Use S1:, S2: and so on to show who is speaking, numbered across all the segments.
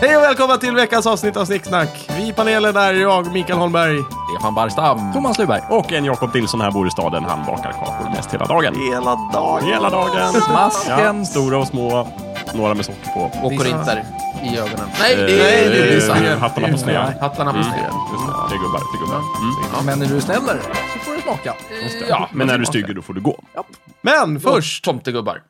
S1: Hej och välkomna till veckans avsnitt av Snicksnack. Vi i panelen är jag, Mikael Holmberg.
S2: Stefan Barstam.
S3: Thomas Luberg. Och en Jakob Nilsson här bor i staden. Han bakar kakor mest hela dagen.
S1: Hela dagen.
S3: Hela dagen.
S2: Masken.
S3: Ja, stora och små. Några med socker på.
S2: Och korinter i ögonen. Nej, det är,
S3: Eh,
S2: det är Lisa.
S3: Hattarna på sned.
S2: Hattarna på sned.
S3: Just det, det är gubbar. Det är gubbar. Mm.
S2: Men är du snällare så får du smaka. Ja,
S3: Men när du stygger då får du gå.
S1: Men först,
S2: Tomtegubbar.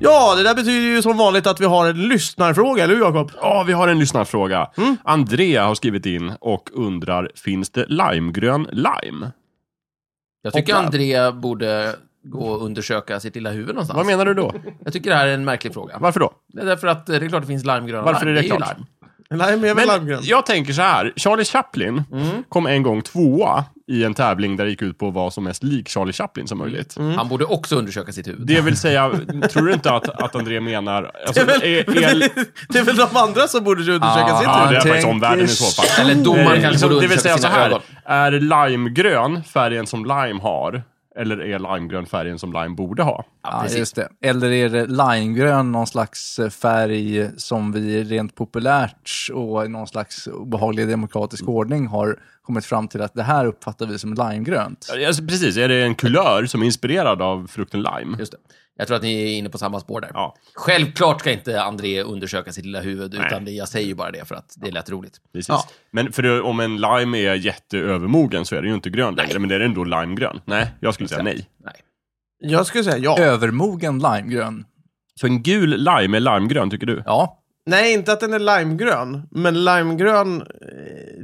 S1: ja det där betyder ju som vanligt att vi har en lyssnarfråga, eller hur Jakob?
S3: Ja, vi har en lyssnarfråga.
S2: Mm.
S3: Andrea har skrivit in och undrar, finns det limegrön lime?
S2: Jag tycker
S3: Hoppla.
S2: André borde gå och undersöka sitt lilla huvud någonstans.
S3: Vad menar du då?
S2: Jag tycker det här är en märklig fråga.
S3: Varför då?
S2: Det är därför att eh, det är klart det finns larmgröna
S3: Varför är
S2: larm.
S3: det
S2: ju
S3: klart?
S2: larm.
S1: Nej, men jag vill
S3: Men
S1: Almgren.
S3: jag tänker så här, Charlie Chaplin
S2: Mm.
S3: kom en gång tvåa i en tävling där det gick ut på att vara som mest lik Charlie Chaplin som möjligt.
S2: Han borde också undersöka sitt huvud.
S3: Det vill säga, tror du inte att, att André menar... Alltså,
S1: Det är väl-
S3: är, är,
S1: Det är väl de andra som borde undersöka
S2: Ah,
S1: sitt
S3: ja,
S1: huvud?
S3: det är
S4: tänker
S3: faktiskt omvärlden i så fall.
S2: Eller domaren
S3: Eh,
S2: kanske
S3: liksom,
S2: borde
S3: det vill
S2: undersöka
S3: säga så
S2: sina
S3: här,
S2: ögon.
S3: är limegrön färgen som lime har? Eller är limegrön färgen som lime borde ha?
S4: Ja,
S2: precis.
S4: just det. Eller är det limegrön någon slags eh, färg som vi rent populärt och i någon slags obehaglig demokratisk
S3: Mm.
S4: ordning har kommit fram till att det här uppfattar vi som limegrönt?
S3: Alltså, precis, är det en kulör som är inspirerad av frukten lime?
S2: Just det. Jag tror att ni är inne på samma spår där.
S3: Ja.
S2: Självklart ska inte André undersöka sitt lilla huvud, utan det, jag säger ju bara det för att det lät roligt.
S3: Precis.
S2: Ja.
S3: Men för det, om en lime är jätteövermogen så är den ju inte grön längre, men är den då limegrön? Nej, jag skulle säga nej.
S2: Nej.
S1: Jag skulle säga ja.
S4: Övermogen limegrön.
S3: Så en gul lime är limegrön, tycker du?
S4: Ja,
S1: Nej, inte att den är limegrön. Men limegrön, eh,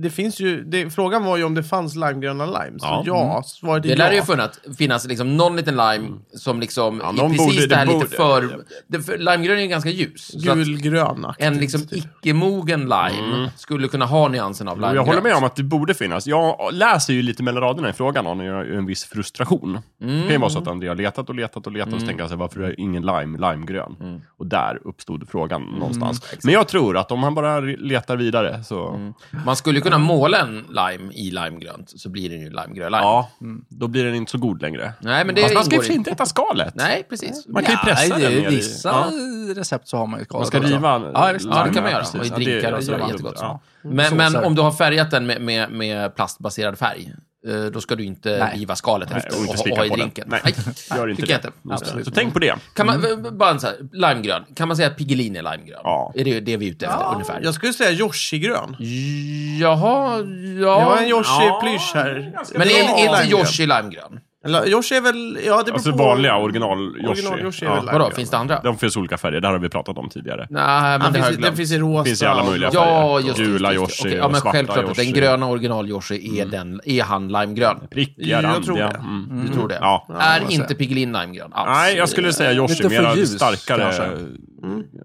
S1: det finns ju... Det, frågan var ju om det fanns limegröna lime. Så ja,
S3: Ja.
S1: svaret är
S2: Det
S1: ja.
S2: lär ju funnits, finnas liksom någon liten lime som liksom,
S3: Mm. Ja,
S2: i
S3: någon
S2: precis
S3: borde-
S2: det här
S3: det
S2: lite
S3: borde-
S2: för... Det, för limegrön är ju ganska ljus. så att
S1: Gulgrön
S2: en liksom icke-mogen lime skulle kunna ha nyansen av limegrön.
S3: Mm. Jag håller med om att det borde finnas. Jag läser ju lite mellan raderna i frågan och jag har ju en viss frustration. Det kan ju vara så att André har letat och letat och letat
S2: Mm.
S3: och så tänker jag sig, varför är ingen lime limegrön? Och där uppstod frågan
S2: Mm,
S3: någonstans. Men jag tror att om han bara letar vidare så,
S2: Man skulle kunna måla en lime i limegrönt, så blir den ju limegrön lime.
S3: ja, då blir den inte så god längre.
S2: Mm. Nej, men det
S3: Fast man ska ju
S2: ingår
S3: i och för sig inte äta skalet.
S2: Nej, precis.
S3: Man kan ju pressa
S4: Nej,
S3: den
S4: det
S3: ner
S4: är
S3: i-
S4: vissa
S3: Ja.
S4: recept så har man ju skalat
S3: Man ska
S4: också.
S3: riva
S4: Ja, visst.
S2: Ja, det kan
S3: lime,
S2: man göra.
S3: precis.
S2: Och i
S3: Ja, det-
S2: drinkar och så
S3: ja,
S2: är det
S3: det-
S2: jättegott.
S3: ja.
S2: Men, men
S4: Såsar.
S2: om du har färgat den med, med, med plastbaserad färg, eh, då ska du inte
S4: Nej.
S2: riva skalet
S3: Nej,
S2: efter
S3: och inte
S2: och, och ha
S3: slicka
S2: i
S3: på den.
S2: drinken.
S3: Nej, gör inte
S2: tycker jag
S3: det.
S2: inte.
S3: Just det.
S4: Absolut.
S3: Så tänk på det.
S2: Kan man, v- Bara en så här, limegrön. Kan man säga att Piggelin är limegrön?
S3: Ja.
S2: Är det det vi är ute efter ungefär?
S1: Jag skulle säga Yoshi-grön.
S2: Jaha,
S1: Jag
S2: ja.
S1: har en Yoshi-plysch här.
S2: Men
S1: Det
S2: är,
S1: var
S2: är inte
S1: limegrön.
S2: Yoshi limegrön?
S1: Eller, Yoshi är väl... Ja, det beror
S3: Alltså
S1: på-
S3: vanliga original-Yoshi.
S1: Original-Yoshi är väl limegrön.
S2: Vadå, finns det andra?
S3: De finns olika färger, det här har vi pratat om tidigare.
S2: Nej,
S1: Den
S2: men det har
S1: finns,
S2: jag
S1: den
S2: glömt.
S1: finns i rosa.
S3: Det finns i alla möjliga
S2: Ja,
S3: färger.
S2: just det,
S3: Gula
S2: just det.
S3: Yoshi
S2: Okej, ja,
S3: och
S2: men
S3: svarta
S2: självklart att den
S3: Yoshi.
S2: gröna original-Yoshi är, den, är han limegrön.
S1: Jag
S3: Prickiga,
S1: tror
S3: randiga.
S1: det.
S3: Mm.
S2: Du tror det?
S3: Ja.
S2: Är inte Piggelin limegrön alls?
S3: Nej, jag skulle säga Yoshi.
S4: Lite för
S3: Mera
S4: ljus,
S3: starkare. Mm.
S4: kanske.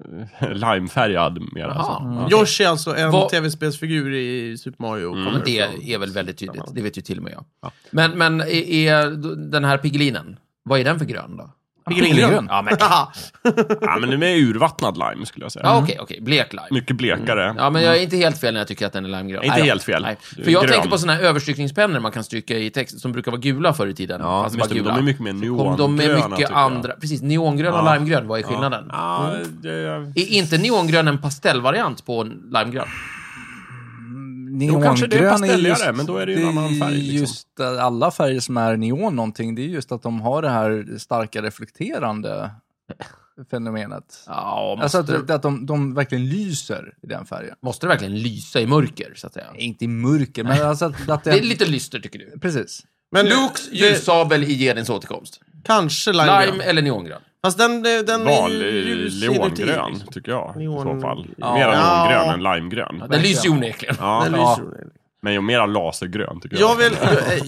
S3: Limefärgad mera.
S2: Jaha.
S3: Alltså.
S1: Yoshi är alltså en
S2: Vad-
S1: tv-spelsfigur i Super Mario.
S3: Mm.
S2: Ja, men det är väl väldigt tydligt. Det vet ju till och med jag. Men, men är, är den här Piggelinen, vad är den för grön då?
S4: Piggelin.
S2: Ja, men...
S1: Haha.
S3: Ja, men den är urvattnad lime skulle jag säga.
S2: Ja, okej, okej. Blek lime.
S3: Mycket blekare.
S2: Ja, men jag är inte helt fel när jag tycker att den är limegrön.
S3: Mm. Inte
S2: Nej då.
S3: helt fel.
S2: Nej.
S3: Du är
S2: För jag
S3: grön.
S2: tänker på sådana här överstrykningspennor man kan stryka i text, som brukar vara gula förr i tiden.
S3: Ja,
S2: Fast
S3: just
S2: alltså, bara
S3: det,
S2: gula.
S3: de är mycket mer
S2: Så kom de med
S3: neongröna,
S2: mycket
S3: tycker jag.
S2: andra. Precis, neongrön och
S3: Ja.
S2: limegrön, vad är skillnaden?
S3: Ja, det,
S2: Är inte neongrön en pastellvariant på en limegrön?
S3: Jo, kanske det är
S4: Neongrön är
S3: pastelligare,
S4: just,
S3: men då är det ju en annan färg, liksom.
S4: just eh, alla färger som är neon någonting, det är just att de har det här starka reflekterande fenomenet.
S2: Ja, måste,
S4: Alltså att,
S2: det,
S4: att de, de verkligen lyser i den färgen.
S2: måste det verkligen lysa i mörker, så att säga?
S4: Inte i mörker, men alltså att, att
S2: Det är lite lyster, tycker du?
S4: Precis.
S1: Men
S2: Lukes ljussabel i Gedins återkomst.
S1: Kanske limegrön.
S2: Lime eller neongrön?
S1: Fast den, den är
S3: Val,
S1: ju ljus inuti,
S3: leongrön,
S1: liksom.
S3: tycker jag. I
S1: Neon-
S3: så fall.
S1: Ja.
S3: Mera
S1: Ja.
S3: neongrön än limegrön.
S2: Den lyser ju onekligen.
S3: Ja,
S1: Den
S4: Ja.
S1: lyser.
S3: men ju mera lasergrön, tycker jag.
S1: Jag vill,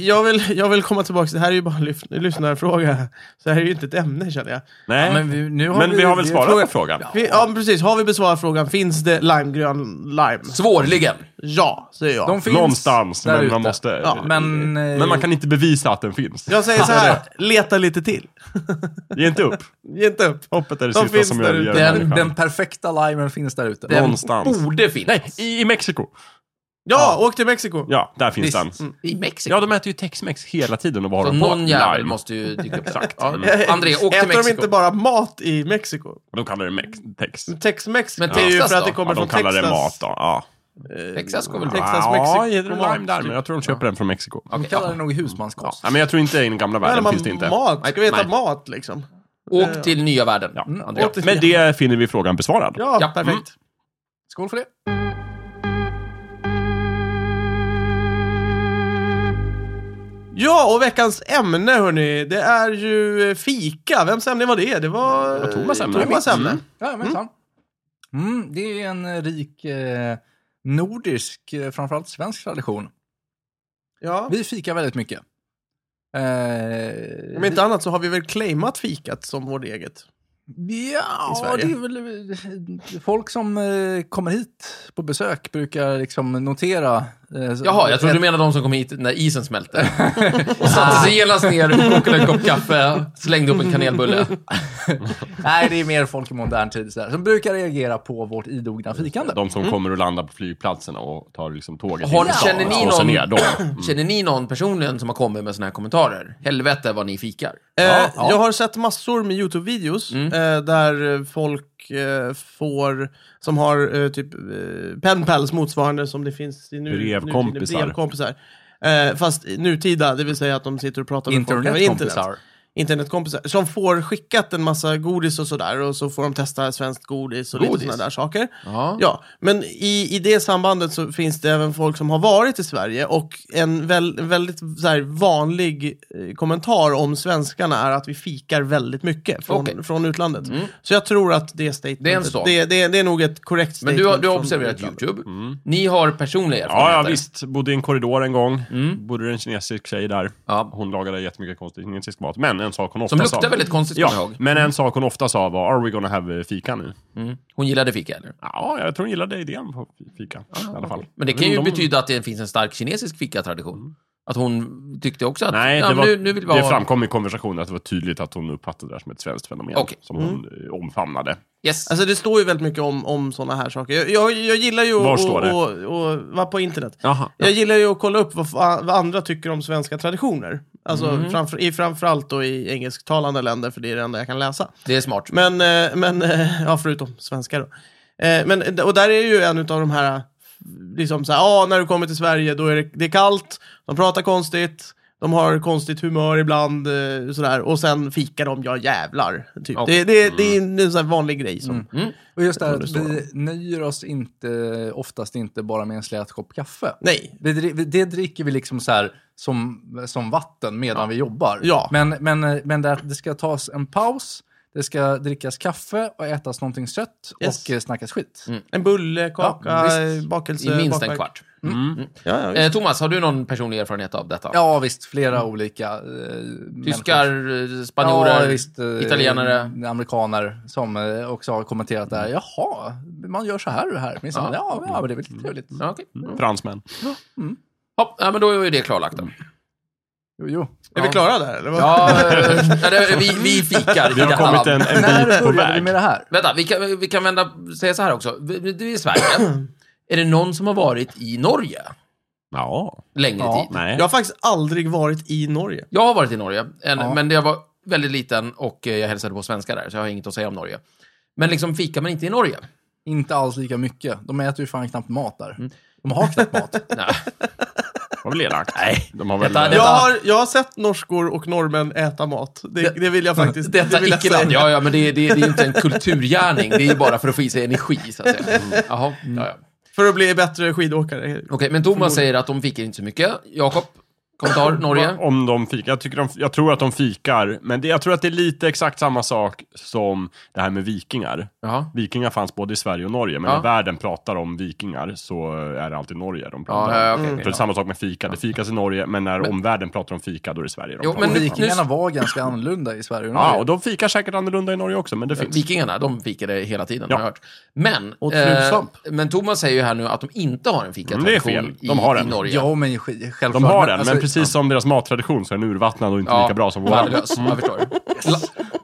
S1: jag, vill, jag vill komma tillbaka, det här är ju bara en lyf- lyssnarfråga. Så det här är ju inte ett ämne känner jag.
S3: Nej,
S4: Men
S3: men
S4: vi,
S3: vi,
S4: nu har vi,
S3: väl
S4: vi-
S3: svarat
S4: fråga-
S3: på frågan?
S1: Vi, ja men precis, har vi besvarat frågan, finns det limegrön lime?
S2: Svårligen.
S1: Ja, säger jag.
S4: De finns
S3: Någonstans,
S4: där
S3: men man
S4: ute.
S3: måste...
S1: Ja,
S4: Men, eh,
S3: Men man kan inte bevisa att den finns.
S1: Jag säger så här, leta lite till.
S3: Ge inte upp.
S1: Ge inte upp.
S3: Hoppet är det
S1: De
S3: sista
S1: finns
S3: som
S1: där
S3: överger
S1: ute.
S4: den,
S3: människan.
S4: den perfekta limen finns där ute.
S2: Den Oh.
S3: Någonstans.
S2: borde finnas.
S3: I, I Mexiko.
S1: Ja, åk till Mexiko!
S3: Ja, där finns
S2: Visst.
S3: den.
S2: Mm, I Mexiko.
S3: Ja, de äter ju Tex-Mex hela tiden och vad
S2: Så
S3: har de på?
S2: någon jävel
S3: Lime.
S2: måste ju dyka upp.
S3: Exakt.
S2: Ja.
S3: Mm.
S2: André, åk till
S1: Eh, Äter
S2: Mexiko.
S1: de inte bara mat i Mexiko?
S3: De kallar det mex, Tex.
S1: Tex-Mex
S2: Men
S1: det är ju
S2: Texas
S1: för att
S2: då?
S1: det kommer
S3: Ja, de
S1: från
S3: kallar
S1: Texas.
S3: det mat då. Ja,
S2: Texas går väl
S1: Texas,
S3: ja
S1: Mexiko,
S3: är det
S1: mat.
S3: lime där, men jag tror de köper den från Mexiko.
S4: De
S2: Okej,
S4: kallar
S2: ja.
S4: det nog husmanskost.
S3: Ja, men jag tror inte i den gamla
S1: Vad är det
S3: världen
S1: man-
S3: finns det inte.
S1: Mat? Ska vi äta
S2: Nej.
S1: mat liksom?
S2: Åk till nya världen,
S3: Ja.
S2: André.
S1: Åk till-
S3: Med det finner vi frågan besvarad.
S1: Ja,
S2: Ja,
S1: perfekt.
S2: mm.
S4: Skål för det.
S1: Ja, och veckans ämne hörni, det är ju eh, fika. Vems ämne var det? Det var, det
S3: var Thomas ämne.
S1: Thomas ämne.
S4: Ja, men mm. Mm, det är en eh, rik eh, nordisk, eh, framförallt svensk tradition.
S1: Ja.
S4: Vi fikar väldigt mycket. Eh,
S1: Om inte annat så har vi väl claimat fikat som vårt eget. i
S4: Ja,
S1: Sverige.
S4: det är väl eh, folk som eh, kommer hit på besök brukar liksom notera. Eh, så-
S2: Jaha, jag trodde du menade de som kom hit när isen smälte. och satte sig genast ner, kokade en kopp kaffe, slängde upp en kanelbulle.
S4: Nej, det är mer folk i modern tid sådär, som brukar reagera på vårt idogna fikande.
S3: De som kommer och landar på flygplatserna och tar liksom tåget
S2: Har,
S3: in till
S2: känner,
S3: stan och slår sig
S2: ni
S3: ner.
S2: någon,
S3: De.
S2: känner ni någon personligen som har kommit med såna här kommentarer? Helvete vad ni fikar.
S1: eh,
S4: ja. Mm.
S1: Jag har sett massor med YouTube-videos eh, där eh, folk eh, får, som har eh, typ eh, penpals motsvarande som det finns i nu,
S3: Brevkompisar.
S1: nutida brevkompisar. Eh, fast i nutida, det vill säga att de sitter och pratar med folk över internet.
S4: Internetkompisar.
S1: internetkompisar som får skickat en massa godis och sådär och så får de testa svenskt godis och
S2: Godis?
S1: lite sådana där saker.
S2: Ja.
S1: Ja, men i, i det sambandet så finns det även folk som har varit i Sverige och en väl, väldigt så här, vanlig eh, kommentar om svenskarna är att vi fikar väldigt mycket från,
S2: Okej. Mm.
S1: från utlandet. Så jag tror att det
S2: Det är en
S1: statementet,
S2: sån.
S1: det, det, det är nog ett korrekt
S2: Men
S1: statement.
S2: du har, du har
S1: från
S2: observerat
S1: utlandet.
S2: YouTube. Ni har personliga
S3: Ja,
S2: erfarenheter.
S3: ja, visst. Bodde i en korridor en gång. Bodde en kinesisk tjej där.
S2: Mm. Ja.
S3: Hon lagade jättemycket konstig kinesisk mat. Men en sak hon ofta
S2: Som
S3: sa...
S2: luktar väldigt konstigt, kommer jag
S3: Ja,
S2: ihåg.
S3: men en sak hon ofta sa var “Are we gonna have eh, fika nu?”
S2: Hon gillade fika, eller?
S3: Ja, jag tror hon gillade idén på fika i alla fall.
S2: Men det kan ju
S3: De-
S2: betyda att det finns en stark kinesisk fikatradition. Att hon tyckte också att...
S3: Nej,
S2: ja,
S3: det,
S2: men
S3: var,
S2: nu, nu vill vi ha...
S3: det framkom i konversationen att det var tydligt att hon uppfattade det här som ett svenskt fenomen.
S2: Okej. Mm.
S3: Som hon eh, omfamnade.
S2: Yes.
S1: Alltså det står ju väldigt mycket om, om sådana här saker. Jag, jag, jag gillar ju
S3: Var
S1: att
S3: står det?
S1: och, och, och, vara på internet.
S3: Jaha.
S1: Jag gillar ju att kolla upp vad, fa- vad andra tycker om svenska traditioner. Alltså
S2: Mhm.
S1: framför, i, framförallt då i engelsktalande länder, för det är det enda jag kan läsa.
S2: det är smart.
S1: Men, eh, men eh, ja, förutom svenska då. Eh, Men, och där är ju en av de här, liksom så här, ja, när du kommer till Sverige, då är det, det är kallt, de pratar konstigt, de har konstigt humör ibland, eh, sådär, och sen fikar de, ja jävlar. Typ.
S2: Okej.
S1: Det, det, det är
S2: Mm.
S1: en, en sån här vanlig grej som
S4: Och just det här
S1: det
S4: att
S1: står
S4: vi nöjer oss inte, oftast inte bara med en slät kopp kaffe.
S1: Nej.
S4: Vi, dri- vi- det dricker vi liksom så här som, som vatten medan vi jobbar.
S1: Ja.
S4: Men, men, men där, det ska tas en paus, det ska drickas kaffe och ätas någonting sött
S1: Yes.
S4: och eh, snackas skit.
S1: En bulle, kaka,
S4: Ja,
S1: eh, bakelse,
S2: I minst en
S1: bakverk.
S2: kvart.
S1: Ja, ja, visst.
S2: Eh, Thomas, har du någon personlig erfarenhet av detta?
S4: Ja, visst. Flera olika eh,
S2: Tyskar,
S4: människor.
S2: eh, spanjorer,
S4: Ja, visst, eh,
S2: italienare.
S4: Amerikaner som eh, också har kommenterat det här. Jaha, man gör så här och här. Men
S2: Ja. Mm.
S4: ja. Ja, ja, men det är väl lite trevligt.
S2: Ja, okej.
S3: Mm. Fransmän.
S2: Hopp, ja, men då är ju det klarlagt då.
S4: Jo, jo.
S1: Är vi klara där eller? vad?
S2: Ja, eh, ja, det, vi, vi fikar i
S3: Det har
S2: detta
S3: kommit en,
S2: land.
S3: en bit
S4: När
S3: på
S4: började vi
S3: väg.
S4: med det här?
S2: Vänta, vi kan, vi kan vända, säga så här också. Vi- vi- Det är i Sverige. är det någon som har varit i Norge
S3: Ja.
S2: längre
S4: Ja.
S2: tid?
S3: Nej.
S1: Jag har faktiskt aldrig varit i Norge.
S2: Jag har varit i Norge, en,
S4: Ja.
S2: men jag var väldigt liten och eh, jag hälsade på svenskar där, så jag har inget att säga om Norge. Men liksom fikar man inte i Norge?
S4: Inte alls lika mycket. De äter ju fan knappt mat där. De har knappt mat.
S2: Nej.
S3: Var väl elakt. Nej. De har väl...
S2: Detta-
S1: Jag
S2: detta-
S1: har, jag har sett norskor och norrmän äta mat. Det, det vill jag faktiskt
S2: Detta
S1: det vill jag
S2: icke-land. Ja, ja, men det, är- det, är- det är inte en kulturgärning. Det är ju bara för att få i sig energi, så att säga.
S3: Mm.
S2: Jaha, ja, ja.
S1: För att bli bättre skidåkare.
S2: Okej, men Thomas säger att de fikar inte så mycket. Jakob, kommentar, Norge?
S3: Om de fikar. Jag, tycker de, jag tror att de fikar, men det, jag tror att det är lite exakt samma sak som det här med vikingar.
S2: Jaha.
S3: Vikingar fanns både i Sverige och Norge, men
S2: Ja.
S3: när världen pratar om vikingar så är det alltid Norge de pratar om.
S2: Ja, ja, okej,
S3: För det är samma sak med fika, det fikas i Norge, men när omvärlden pratar om fika, då är det Sverige de
S2: Jo,
S3: pratar
S2: men
S3: om.
S4: Och
S2: nu-
S4: vikingarna var ganska annorlunda i Sverige och
S3: Ja,
S4: Norge.
S3: och de fikar säkert annorlunda i Norge också, men det finns.
S2: Vikingarna, de fikade hela tiden,
S3: Ja.
S2: har jag hört. Men, eh,
S1: Och knutsvamp.
S2: men Thomas säger ju här nu att de inte har en fika
S3: Mm, det är fel. De
S2: i,
S3: har
S2: i
S3: en.
S2: Norge.
S4: Ja, men sk- självklart.
S3: De har den,
S4: alltså,
S3: men precis som deras mattradition så är den urvattnad och inte
S2: Ja,
S3: lika bra som vår.
S2: Värdelös, jag förstår. La,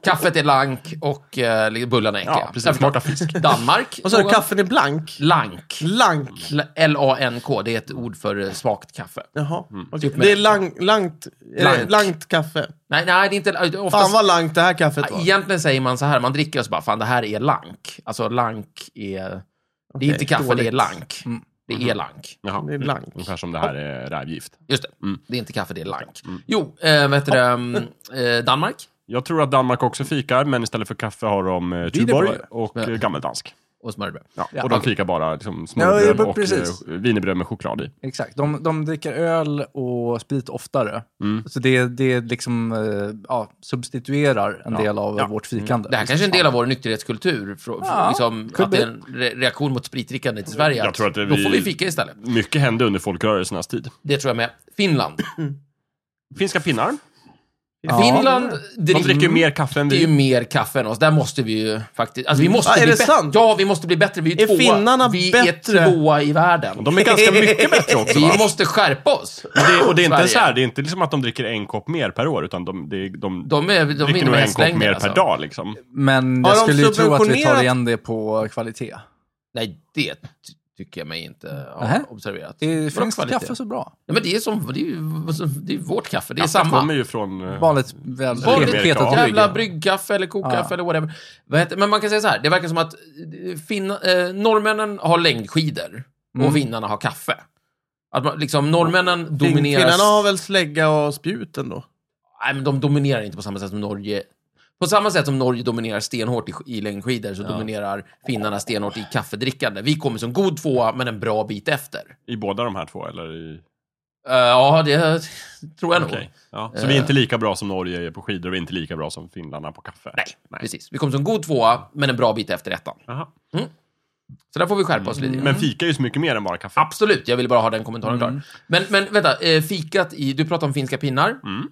S2: Kaffet är lank och eh, bullarna är äckliga.
S3: Ja, precis. Borta fisk.
S2: Danmark.
S1: Vad sa du?
S2: någon-
S1: Kaffen är blank?
S2: Lank.
S1: Lank?
S2: L- L-A-N-K. Det är ett ord för eh, svagt kaffe.
S1: Jaha. okej.
S2: Typ med-
S1: Det är lang, langt, är det
S2: Lank.
S1: langt kaffe.
S2: Nej, nej, det är inte... eh,
S1: Fan
S2: Oftast,
S1: vad langt det här kaffet var.
S2: egentligen säger man så här, man dricker och så bara, fan det här är lank. Alltså lank är... det är
S1: Okej,
S2: inte kaffe, det är
S1: dåligt.
S2: lank.
S3: Mm.
S2: Det
S3: Mm-hmm.
S2: är lank.
S3: Jaha.
S1: Det är blank.
S3: Ungefär som det här är rävgift.
S2: Just det.
S3: Mm.
S2: Det är inte kaffe, det är lank. Jo, äh, vet du, det, mm, eh, Danmark.
S3: Jag tror att Danmark också fikar, men istället för kaffe har de eh,
S4: Wienerbröd.
S3: Tuborg och eh, gammeldansk.
S2: Och smörrebröd.
S3: Ja.
S4: Ja.
S3: Och de fikar bara liksom,
S4: Ja, ja,
S3: smörbröd
S4: men
S3: och
S4: precis.
S3: eh, wienerbröd med choklad i.
S4: Exakt. De, de dricker öl och sprit oftare.
S2: Mm.
S4: Så det, det liksom, eh, ja, substituerar en del av
S3: Ja.
S4: vårt fikande.
S2: Mm. Det här kanske är en del av vår nykterhetskultur. Frå,
S4: Ja,
S2: liksom,
S4: could
S2: att det är
S4: be.
S2: en re reaktion mot spritdrickande i Sverige.
S3: Jag tror att det
S2: Då
S3: vi-
S2: får vi fika istället.
S3: Mycket hände under folkrörelsernas tid.
S2: Det tror jag med. Finland.
S3: Finska pinnar.
S4: Ja.
S2: Finland
S3: De dricker ju mer kaffe än
S2: Det är ju
S3: vi. Mm. Ah,
S2: mer kaffe än oss. Där måste vi ju faktiskt... Alltså vi måste
S1: Va, är
S2: bli
S1: det
S2: bättre.
S1: sant?
S2: Ja, vi måste bli bättre. Vi är, ju
S1: Är
S2: tvåa.
S1: finnarna
S2: vi
S1: bättre?
S2: är tvåa i världen.
S3: De är ganska mycket bättre också. va?
S2: Vi måste skärpa oss.
S3: Det, och det är inte
S2: Sverige.
S3: så här, det är inte liksom att de dricker en kopp mer per år, utan de, de, de,
S2: De är, de är
S3: dricker
S2: inom
S3: nog en kopp mer
S2: hästlängder
S3: per
S2: alltså.
S3: dag liksom.
S4: Men
S1: Har
S4: jag
S1: de
S4: skulle ju tro att vi tar
S1: subventionerat-
S4: igen det på kvalitet.
S2: Nej, det ty- tycker jag mig inte ha
S4: Nähä.
S2: observerat.
S4: Är
S2: Vadå
S4: finskt
S2: kvalitet?
S4: kaffe så bra?
S2: Nej, men det är som... Det är, ju- det är vårt kaffe. Det är
S3: De
S2: samma.
S3: kommer ju från... eh,
S4: Vanligt väl
S2: Vanligt
S4: petat
S3: Ja.
S2: Jävla
S4: brygg.
S2: bryggkaffe eller kokkaffe
S4: Ja.
S2: eller whatever. Vad heter, men man kan säga så här, det verkar som att eh, finna, eh, norrmännen har längdskidor och
S4: Mm.
S2: finnarna har kaffe. Att man, liksom, norrmännen dominerar...
S1: Finnarna har väl slägga och spjut ändå?
S2: Nej, men de dominerar inte på samma sätt som Norge. På samma sätt som Norge dominerar stenhårt i, i längdskidor så dominerar finnarna stenhårt i kaffedrickande. Vi kommer som god tvåa, men en bra bit efter.
S3: I båda de här två, eller? I...
S2: Eh, ja, det tror jag nog.
S3: Okej. Ja. Så vi är inte lika bra som Norge på skidor och vi är inte lika bra som finnarna på kaffe?
S2: Nej, precis. Vi kommer som god tvåa, men en bra bit efter ettan.
S3: Jaha.
S2: Så där får vi skärpa oss lite. grann.
S3: Mm. Men fika är ju så mycket mer än bara kaffe.
S2: Absolut, jag ville bara ha den
S4: Mm.
S2: kommentaren klar. Men, men vänta, eh, fikat i... Du pratar om finska pinnar.
S3: Mm.